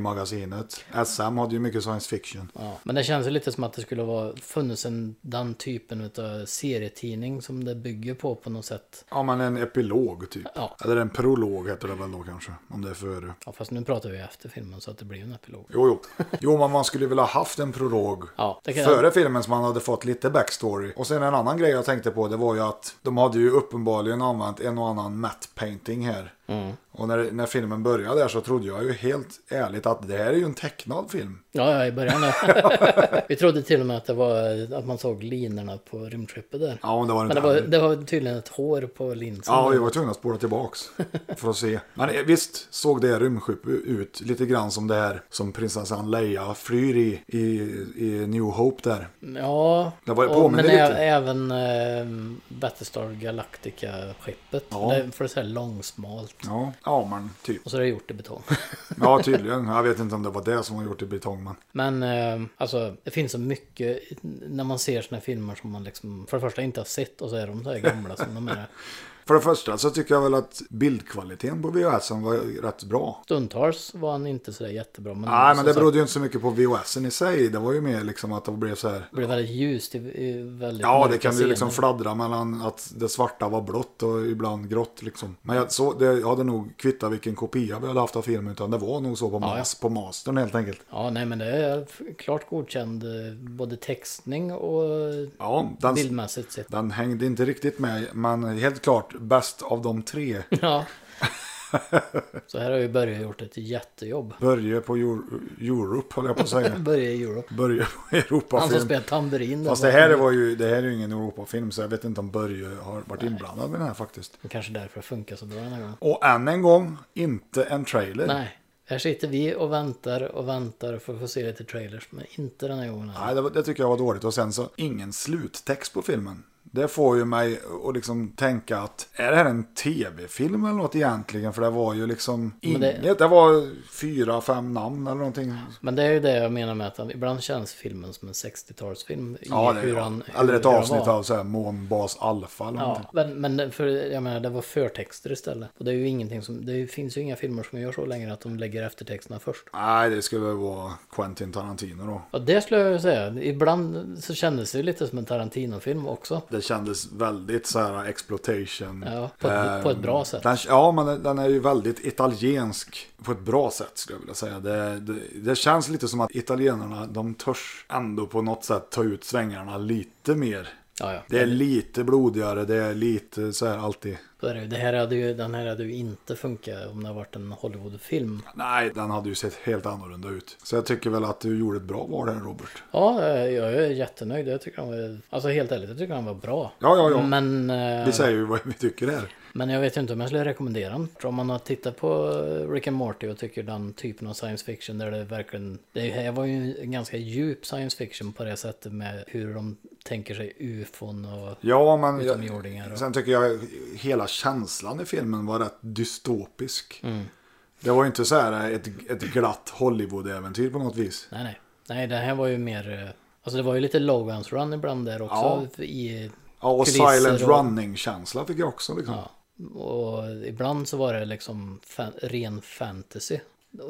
[SPEAKER 1] Seriemagasinet. SM hade ju mycket science fiction.
[SPEAKER 2] Ja, men det känns ju lite som att det skulle ha funnits en, den typen av serietidning som det bygger på på något sätt.
[SPEAKER 1] Ja, men en epilog typ.
[SPEAKER 2] Ja.
[SPEAKER 1] Eller en prolog heter det väl då kanske. Om det är före.
[SPEAKER 2] Ja, fast nu pratar vi efter filmen så att det blir en epilog.
[SPEAKER 1] Jo, jo. Jo, men man skulle väl ha haft en prolog.
[SPEAKER 2] Ja, det kan
[SPEAKER 1] Före filmen som man hade fått lite backstory. Och sen en annan grej jag tänkte på det var ju att de hade ju uppenbarligen använt en och annan matte painting här.
[SPEAKER 2] Mm.
[SPEAKER 1] Och när, när filmen började där så trodde jag ju helt ärligt att det här är ju en tecknad film.
[SPEAKER 2] Ja, ja, i början. ja.
[SPEAKER 1] (laughs)
[SPEAKER 2] vi trodde till och med att det var att man såg linorna på rymdskeppet där.
[SPEAKER 1] Ja, men det var det
[SPEAKER 2] Men
[SPEAKER 1] inte.
[SPEAKER 2] det var, det var tydligen ett hår på linsen.
[SPEAKER 1] Ja, vi var tvungna att spola tillbaks (laughs) för att se. Men eh, visst såg det rymdskepp ut lite grann som det här som prinsessan Leia flyr i, i, i New Hope där.
[SPEAKER 2] Ja,
[SPEAKER 1] Det var- påminner
[SPEAKER 2] men
[SPEAKER 1] lite.
[SPEAKER 2] ä- även äh, Battlestar Galactica-skeppet.
[SPEAKER 1] Ja.
[SPEAKER 2] Det, för det är så här långsmalt.
[SPEAKER 1] Ja, ja men typ.
[SPEAKER 2] Och så är det gjort i betong.
[SPEAKER 1] Ja, tydligen. Jag vet inte om det var det som var gjort i betong, men
[SPEAKER 2] Men eh, alltså, det finns så mycket när man ser såna här filmer som man liksom för det första inte har sett och så är de så här gamla som
[SPEAKER 1] (laughs)
[SPEAKER 2] de är.
[SPEAKER 1] För det första så tycker jag väl att bildkvaliteten på VHSen var rätt bra.
[SPEAKER 2] Stundtals var han inte så där jättebra. Men alltså
[SPEAKER 1] Nej, men det
[SPEAKER 2] beror...
[SPEAKER 1] berodde ju inte så mycket på VHSen i sig. Det var ju mer liksom att det blev så här.
[SPEAKER 2] Det blev väldigt ljust i, i väldigt
[SPEAKER 1] Ja, det
[SPEAKER 2] mörka
[SPEAKER 1] kan ju liksom
[SPEAKER 2] scener.
[SPEAKER 1] fladdra mellan att det svarta var blått och ibland grått liksom. Men jag, så, det, jag hade nog kvittat vilken kopia vi hade haft av filmen, utan det var nog så på,
[SPEAKER 2] ja.
[SPEAKER 1] mas, på mastern helt enkelt.
[SPEAKER 2] Ja, nej men det är f- klart godkänd eh, både textning och
[SPEAKER 1] Ja, den, (laughs)
[SPEAKER 2] bildmässigt sett.
[SPEAKER 1] den hängde inte riktigt med, men helt klart bäst av de tre.
[SPEAKER 2] Ja. Så här har ju Börje gjort ett jättejobb.
[SPEAKER 1] Börje på Eur- Europe höll jag på att (laughs) säga.
[SPEAKER 2] Börje i Europe.
[SPEAKER 1] Börje på
[SPEAKER 2] Han som
[SPEAKER 1] Europafilm.
[SPEAKER 2] spelar tamburin. där
[SPEAKER 1] Fast
[SPEAKER 2] var-
[SPEAKER 1] det här var ju, det här är ju ingen Europafilm så jag vet inte om Börje har varit inblandad i den här faktiskt.
[SPEAKER 2] Det Kanske därför det funkar så bra den här gången.
[SPEAKER 1] Och än en gång, inte en trailer.
[SPEAKER 2] Nej, här sitter vi och väntar och väntar för att få se lite trailers. Men inte den här gången.
[SPEAKER 1] Nej, det, var- det tycker jag var dåligt. Och sen så ingen sluttext på filmen. Det får ju mig att liksom tänka att är det här en tv-film eller något egentligen? För det var ju liksom
[SPEAKER 2] Men det-
[SPEAKER 1] inget. Det... var fyra, fem namn eller någonting.
[SPEAKER 2] Men det är ju det jag menar med att han, ibland känns filmen som en 60-talsfilm. i
[SPEAKER 1] Ja, det,
[SPEAKER 2] hur
[SPEAKER 1] ja.
[SPEAKER 2] han- hur-
[SPEAKER 1] eller ett
[SPEAKER 2] hur han
[SPEAKER 1] avsnitt
[SPEAKER 2] var.
[SPEAKER 1] av så här Månbas Alfa eller någonting.
[SPEAKER 2] Ja, men, men för, jag menar, det var förtexter istället. Och det är ju ingenting som, det finns ju inga filmer som gör så längre att de lägger eftertexterna först.
[SPEAKER 1] Nej, det skulle väl vara Quentin Tarantino då.
[SPEAKER 2] Ja, det skulle jag ju säga. Ibland så kändes det ju lite som en Tarantino-film också.
[SPEAKER 1] Det kändes väldigt så här exploitation.
[SPEAKER 2] Ja, på ett-
[SPEAKER 1] Ehm,
[SPEAKER 2] på ett bra sätt.
[SPEAKER 1] Den, ja, men den- den är ju väldigt italiensk på ett bra sätt skulle jag vilja säga. Det, det, det känns lite som att italienarna, de törs ändå på något sätt ta ut svängarna lite mer.
[SPEAKER 2] Ja, ja.
[SPEAKER 1] Det är lite blodigare, det är lite så här alltid.
[SPEAKER 2] Så är det, ju. det här hade ju, den här hade ju inte funkat om det hade varit en Hollywood-film.
[SPEAKER 1] Nej, den hade ju sett helt annorlunda ut. Så jag tycker väl att du gjorde ett bra val här Robert.
[SPEAKER 2] Ja, eh, jag är jättenöjd. Jag tycker han var, alltså helt ärligt, jag tycker han var bra.
[SPEAKER 1] Ja, ja, ja.
[SPEAKER 2] Men, eh,
[SPEAKER 1] Vi säger ju vad vi tycker här.
[SPEAKER 2] men jag vet ju inte om jag skulle rekommendera den. Om man har tittat på eh, Rick and Morty och tycker den typen av science fiction där det verkligen... Det här var ju en ganska djup science fiction på det sättet med hur de tänker sig ufon och...
[SPEAKER 1] Ja, men
[SPEAKER 2] Utomjordingar och-
[SPEAKER 1] sen tycker jag hela känslan i filmen var rätt dystopisk.
[SPEAKER 2] Mm.
[SPEAKER 1] Det var ju inte så här ett, ett glatt Hollywood-äventyr på något vis.
[SPEAKER 2] Nej, nej. Nej, det här var ju mer... eh, Alltså det var ju lite Logans Run ibland där också. I,
[SPEAKER 1] Ja, och
[SPEAKER 2] Kulisser
[SPEAKER 1] silent
[SPEAKER 2] och-
[SPEAKER 1] running-känsla fick jag också. Liksom.
[SPEAKER 2] ja. Och ibland så var det liksom fan, ren fantasy.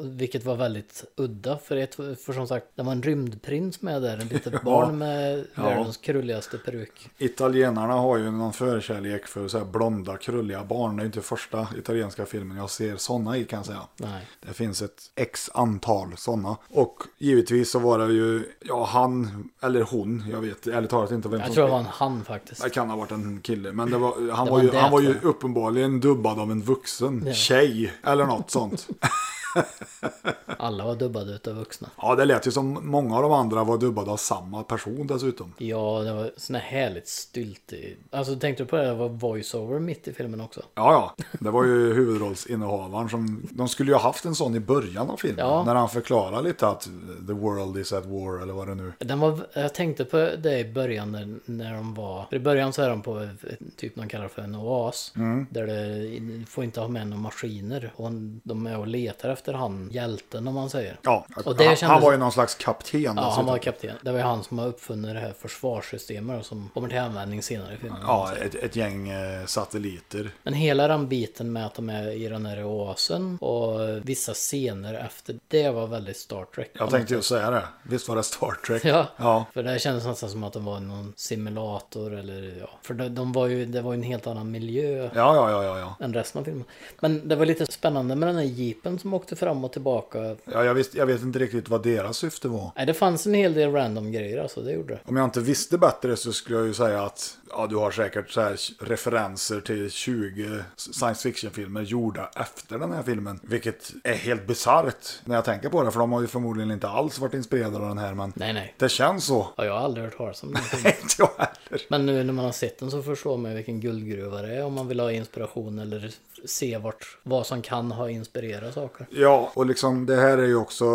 [SPEAKER 2] Vilket var väldigt udda för, ett, för som sagt, det var en rymdprins med där, ett litet barn med världens krulligaste peruk.
[SPEAKER 1] Italienarna har ju någon förkärlek för så här blonda, krulliga barn. Det är ju inte första italienska filmen jag ser sådana i kan jag säga.
[SPEAKER 2] Nej.
[SPEAKER 1] Det finns ett x antal sådana. Och givetvis så var det ju, ja han eller hon, jag vet ärligt talat inte vem
[SPEAKER 2] Jag
[SPEAKER 1] som
[SPEAKER 2] tror det
[SPEAKER 1] spelar.
[SPEAKER 2] var en han faktiskt.
[SPEAKER 1] Det kan ha varit en kille, men det var, han,
[SPEAKER 2] Det
[SPEAKER 1] var
[SPEAKER 2] var
[SPEAKER 1] ju,
[SPEAKER 2] en det,
[SPEAKER 1] han var ju
[SPEAKER 2] tror jag.
[SPEAKER 1] uppenbarligen dubbad av en vuxen
[SPEAKER 2] Ja.
[SPEAKER 1] tjej eller något sånt.
[SPEAKER 2] Alla var dubbade utav vuxna.
[SPEAKER 1] Ja, det lät ju som många av de andra var dubbade av samma person dessutom.
[SPEAKER 2] Ja, det var sån här härligt styltig. Alltså tänkte du på det, det var voiceover mitt i filmen också.
[SPEAKER 1] Ja, ja, det var ju huvudrollsinnehavaren som... De skulle ju ha haft en sån i början av filmen.
[SPEAKER 2] Ja.
[SPEAKER 1] När han förklarar lite att the world is at war eller vad det nu
[SPEAKER 2] Den var, jag tänkte på det i början när, när de var... För i början så är de på ett- typ de kallar för en oas.
[SPEAKER 1] Mm.
[SPEAKER 2] Där det får inte ha med några maskiner. Och de är och letar efter han, hjälten om man säger.
[SPEAKER 1] Ja,
[SPEAKER 2] Och det
[SPEAKER 1] han,
[SPEAKER 2] kändes-
[SPEAKER 1] han var ju någon slags kapten
[SPEAKER 2] Ja, han
[SPEAKER 1] dessutom.
[SPEAKER 2] var kapten. Det var ju han som har uppfunnit det här försvarssystemet och som kommer till användning senare i filmen.
[SPEAKER 1] Ja, ett, ett gäng eh, satelliter.
[SPEAKER 2] Men hela den biten med att de är i den här oasen och vissa scener efter det var väldigt Star Trek.
[SPEAKER 1] Jag tänkte ju säga det. Visst var det Star Trek?
[SPEAKER 2] Ja.
[SPEAKER 1] ja.
[SPEAKER 2] För det här kändes nästan som att de var någon simulator eller ja. För de, de var ju, det var ju en helt annan miljö
[SPEAKER 1] Ja, ja, ja, ja. ja.
[SPEAKER 2] än resten av filmen. Men det var lite spännande med den här jeepen som åkte fram och tillbaka.
[SPEAKER 1] ja jag, visst, jag vet inte riktigt vad deras syfte var.
[SPEAKER 2] Nej, det fanns en hel del random grejer alltså, det gjorde det.
[SPEAKER 1] Om jag inte visste bättre så skulle jag ju säga att ja, du har säkert så här referenser till 20 science fiction-filmer gjorda efter den här filmen. Vilket är helt bisarrt när jag tänker på det, för de har ju förmodligen inte alls varit inspirerade av den här, men
[SPEAKER 2] Nej, nej.
[SPEAKER 1] det känns så. (laughs)
[SPEAKER 2] Ja, jag har aldrig hört talas om den filmen.
[SPEAKER 1] Inte jag heller.
[SPEAKER 2] Men nu när man har sett den så förstår man ju vilken guldgruva det är om man vill ha inspiration eller se vart, vad som kan ha inspirerat saker.
[SPEAKER 1] Ja, och liksom det här är ju också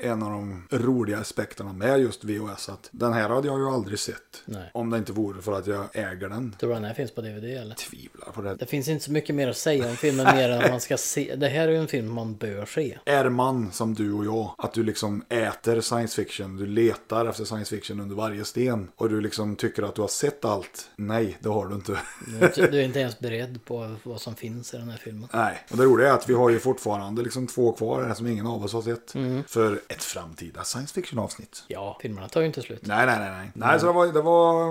[SPEAKER 1] en av de roliga aspekterna med just VHS. Att den här hade jag ju aldrig sett.
[SPEAKER 2] Nej.
[SPEAKER 1] Om det inte vore för att jag äger den.
[SPEAKER 2] Tror du den här finns på DVD eller?
[SPEAKER 1] Tvivlar på det.
[SPEAKER 2] Det finns inte så mycket mer att säga om filmen mer än att man ska se. Det här är ju en film man bör se.
[SPEAKER 1] Är man som du och jag, att du liksom äter science fiction, du letar efter science fiction under varje sten och du liksom tycker att du har sett allt? Nej, det har du inte. (laughs)
[SPEAKER 2] Du är inte- du är inte ens beredd på vad som finns i den här filmen.
[SPEAKER 1] Nej, och det roliga är att vi har ju fortfarande liksom två kvar här som ingen av oss har sett
[SPEAKER 2] Mm.
[SPEAKER 1] för ett framtida science fiction avsnitt.
[SPEAKER 2] Ja, filmerna tar ju inte slut.
[SPEAKER 1] Nej, nej, nej, nej. Nej, så det var, det var,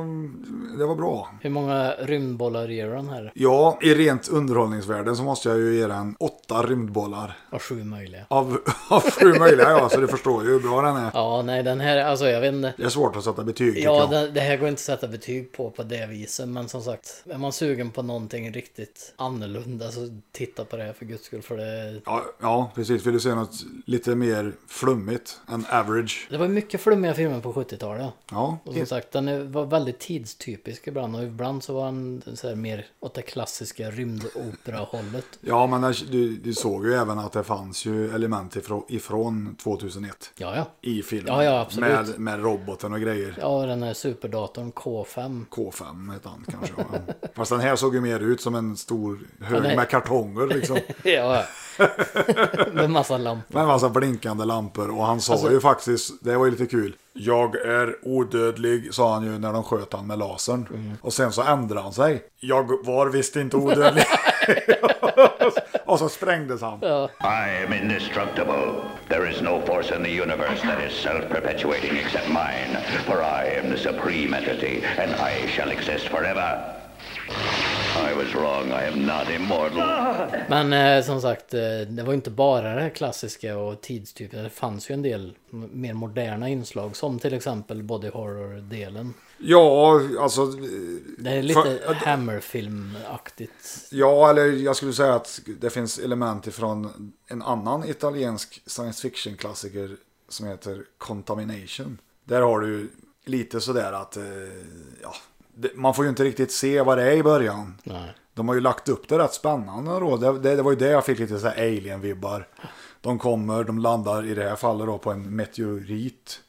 [SPEAKER 1] det var bra.
[SPEAKER 2] Hur många rymdbollar ger den här?
[SPEAKER 1] Ja, i rent underhållningsvärden så måste jag ju ge den åtta rymdbollar.
[SPEAKER 2] Och sju möjliga.
[SPEAKER 1] Av, (laughs) av sju möjliga, ja, så du förstår ju hur bra den är.
[SPEAKER 2] Ja, nej den här, alltså jag vet inte.
[SPEAKER 1] Det är svårt att sätta betyg tycker
[SPEAKER 2] Ja,
[SPEAKER 1] jag.
[SPEAKER 2] det, det här går inte att sätta betyg på på det viset, men som sagt, är man sugen på någonting riktigt stund. Alltså titta på det här för guds skull. För det,
[SPEAKER 1] Ja, ja precis. Vill du se något lite mer flummigt än average?
[SPEAKER 2] det var mycket flummiga filmer på 70-talet.
[SPEAKER 1] Ja,
[SPEAKER 2] Och som sagt, den är- var väldigt tidstypisk ibland. Och ibland så var den så här mer åt det klassiska rymdopera-hållet.
[SPEAKER 1] ja men där- du, du såg ju även att det fanns ju element ifrån, ifrån 2001
[SPEAKER 2] Ja, ja.
[SPEAKER 1] i filmen.
[SPEAKER 2] Ja, ja, absolut.
[SPEAKER 1] Med, med roboten och grejer.
[SPEAKER 2] Ja, och den här superdatorn K5.
[SPEAKER 1] K5 hette han kanske. va?
[SPEAKER 2] (laughs)
[SPEAKER 1] Fast den här såg ju mer ut som en stor hög
[SPEAKER 2] nej.
[SPEAKER 1] med kartonger liksom.
[SPEAKER 2] (laughs) Ja, med massa lampor.
[SPEAKER 1] Med en massa alltså blinkande lampor. Och han sa
[SPEAKER 2] Alltså-
[SPEAKER 1] ju faktiskt, det var ju lite kul. Jag är odödlig, sa han ju när de sköt han med lasern. Och sen så ändrade han sig. Jag var visst inte odödlig. (laughs) och så sprängdes han.
[SPEAKER 3] I am indestructible. There is no force in the universe that is self-perpetuating except mine, for I am the supreme entity, and I shall exist forever. I was wrong. I am not immortal.
[SPEAKER 2] Men eh, som sagt, eh, det var ju inte bara det här klassiska och tidstypiska. Det fanns ju en del m- mer moderna inslag som till exempel body horror-delen.
[SPEAKER 1] Ja, alltså.
[SPEAKER 2] Det är lite
[SPEAKER 1] För- ja, det-
[SPEAKER 2] Hammerfilm-aktigt.
[SPEAKER 1] Ja, eller jag skulle säga att det finns element ifrån en annan italiensk science fiction-klassiker som heter Contamination. Där har du ju lite sådär att, eh, ja, det, man får ju inte riktigt se vad det är i början.
[SPEAKER 2] Nej.
[SPEAKER 1] De har ju lagt upp det rätt spännande då. Det, det, det var ju det jag fick lite så här alien-vibbar. De kommer, de landar i det här fallet då på en meteorit.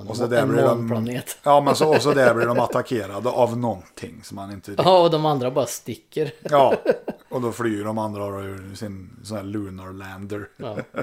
[SPEAKER 2] en
[SPEAKER 1] och så
[SPEAKER 2] mo-
[SPEAKER 1] där
[SPEAKER 2] en
[SPEAKER 1] blir de,
[SPEAKER 2] månplanet.
[SPEAKER 1] ja, men så, och så där blir de attackerade av någonting som man inte
[SPEAKER 2] Ja, och de andra bara sticker.
[SPEAKER 1] Ja, (laughs) och då flyr de andra då ur sin sån här Lunar Lander.
[SPEAKER 2] Ja.
[SPEAKER 1] (laughs)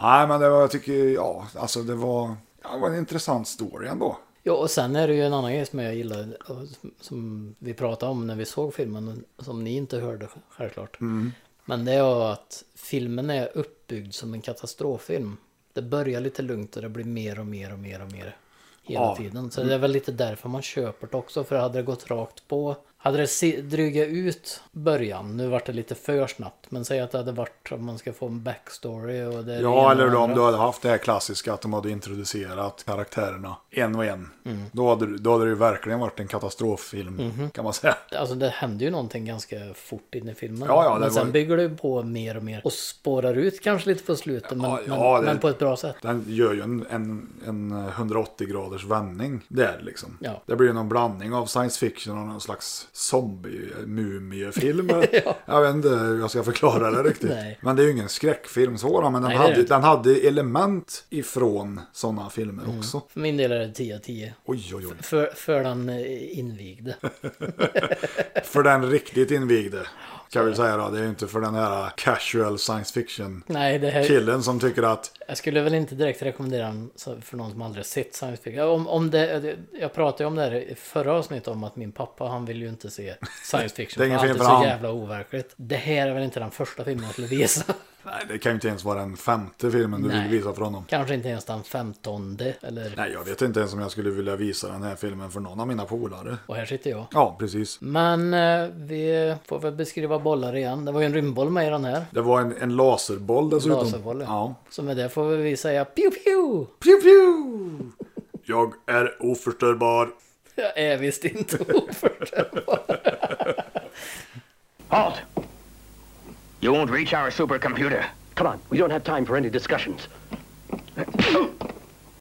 [SPEAKER 1] Nej, men det var, jag tycker, ja, alltså det var, ja, det var en intressant story ändå.
[SPEAKER 2] Ja, och sen är det ju en annan grej som jag gillar, och som- som vi pratade om när vi såg filmen, och som ni inte hörde självklart.
[SPEAKER 1] Mm.
[SPEAKER 2] Men det är att filmen är uppbyggd som en katastroffilm. Det börjar lite lugnt och det blir mer och mer och mer och mer hela
[SPEAKER 1] Ja.
[SPEAKER 2] tiden. Så det är väl lite därför man köper det också, för hade det gått rakt på, hade det se- drygat ut början, nu vart det lite för snabbt, men säg att det hade varit om man ska få en backstory och det är det ena
[SPEAKER 1] Ja,
[SPEAKER 2] och
[SPEAKER 1] eller
[SPEAKER 2] det
[SPEAKER 1] då, om
[SPEAKER 2] andra.
[SPEAKER 1] du hade haft det här klassiska att de hade introducerat karaktärerna en och en. Då, hade, du- då hade det ju verkligen varit en katastroffilm, kan man säga.
[SPEAKER 2] Alltså det händer ju någonting ganska fort in i filmen.
[SPEAKER 1] Ja, ja, det
[SPEAKER 2] men sen
[SPEAKER 1] var-
[SPEAKER 2] bygger det ju på mer och mer och spårar ut kanske lite på slutet. men,
[SPEAKER 1] Ja, ja,
[SPEAKER 2] men,
[SPEAKER 1] det-
[SPEAKER 2] men på ett bra sätt.
[SPEAKER 1] Den gör ju en, en, en 180 graders vändning där liksom.
[SPEAKER 2] Ja.
[SPEAKER 1] Det blir ju någon blandning av science fiction och någon slags
[SPEAKER 2] (laughs)
[SPEAKER 1] zombie-mumiefilm. Jag vet inte hur jag ska förklara det riktigt.
[SPEAKER 2] Nej.
[SPEAKER 1] Men det är ju ingen skräckfilm sådan, men den,
[SPEAKER 2] Nej, det är det
[SPEAKER 1] hade,
[SPEAKER 2] inte.
[SPEAKER 1] den hade element ifrån sådana filmer också.
[SPEAKER 2] För min del är det 10 av 10.
[SPEAKER 1] Oj, oj, oj.
[SPEAKER 2] För, för den
[SPEAKER 1] (laughs)
[SPEAKER 2] eh, invigde.
[SPEAKER 1] För den riktigt invigde. Kan vi säga då, det är ju inte för den här casual science fiction.
[SPEAKER 2] Nej, det här,
[SPEAKER 1] Killen som tycker att
[SPEAKER 2] jag skulle väl inte direkt rekommendera den så- för någon som aldrig sett science fiction. Om, om det, jag pratade ju om det här i förra avsnittet om att min pappa, han vill ju inte se
[SPEAKER 1] (laughs)
[SPEAKER 2] science fiction.
[SPEAKER 1] Det är ingen
[SPEAKER 2] för
[SPEAKER 1] film
[SPEAKER 2] allt
[SPEAKER 1] för
[SPEAKER 2] är så
[SPEAKER 1] han.
[SPEAKER 2] jävla overkligt. Det här är väl inte den första filmen jag skulle visa. (laughs)
[SPEAKER 1] nej, det kan ju inte ens vara den femte filmen du
[SPEAKER 2] Nej.
[SPEAKER 1] vill visa för honom.
[SPEAKER 2] Kanske inte ens den femtonde. Eller,
[SPEAKER 1] Nej, jag vet inte ens om jag skulle vilja visa den här filmen för någon av mina polare.
[SPEAKER 2] och här sitter jag.
[SPEAKER 1] Ja, precis.
[SPEAKER 2] Men eh, vi får väl beskriva bollar igen. Det var ju en rymdboll med i den här.
[SPEAKER 1] Det var en, en laserboll dessutom.
[SPEAKER 2] Laserboll, ja.
[SPEAKER 1] ja.
[SPEAKER 2] Så med det får vi säga pew pew!
[SPEAKER 1] Pew, pew! Jag är oförstörbar.
[SPEAKER 2] Jag är visst inte (laughs) oförstörbar.
[SPEAKER 4] Halt!
[SPEAKER 3] You won't reach our supercomputer.
[SPEAKER 4] Come on, we don't have time for any discussions.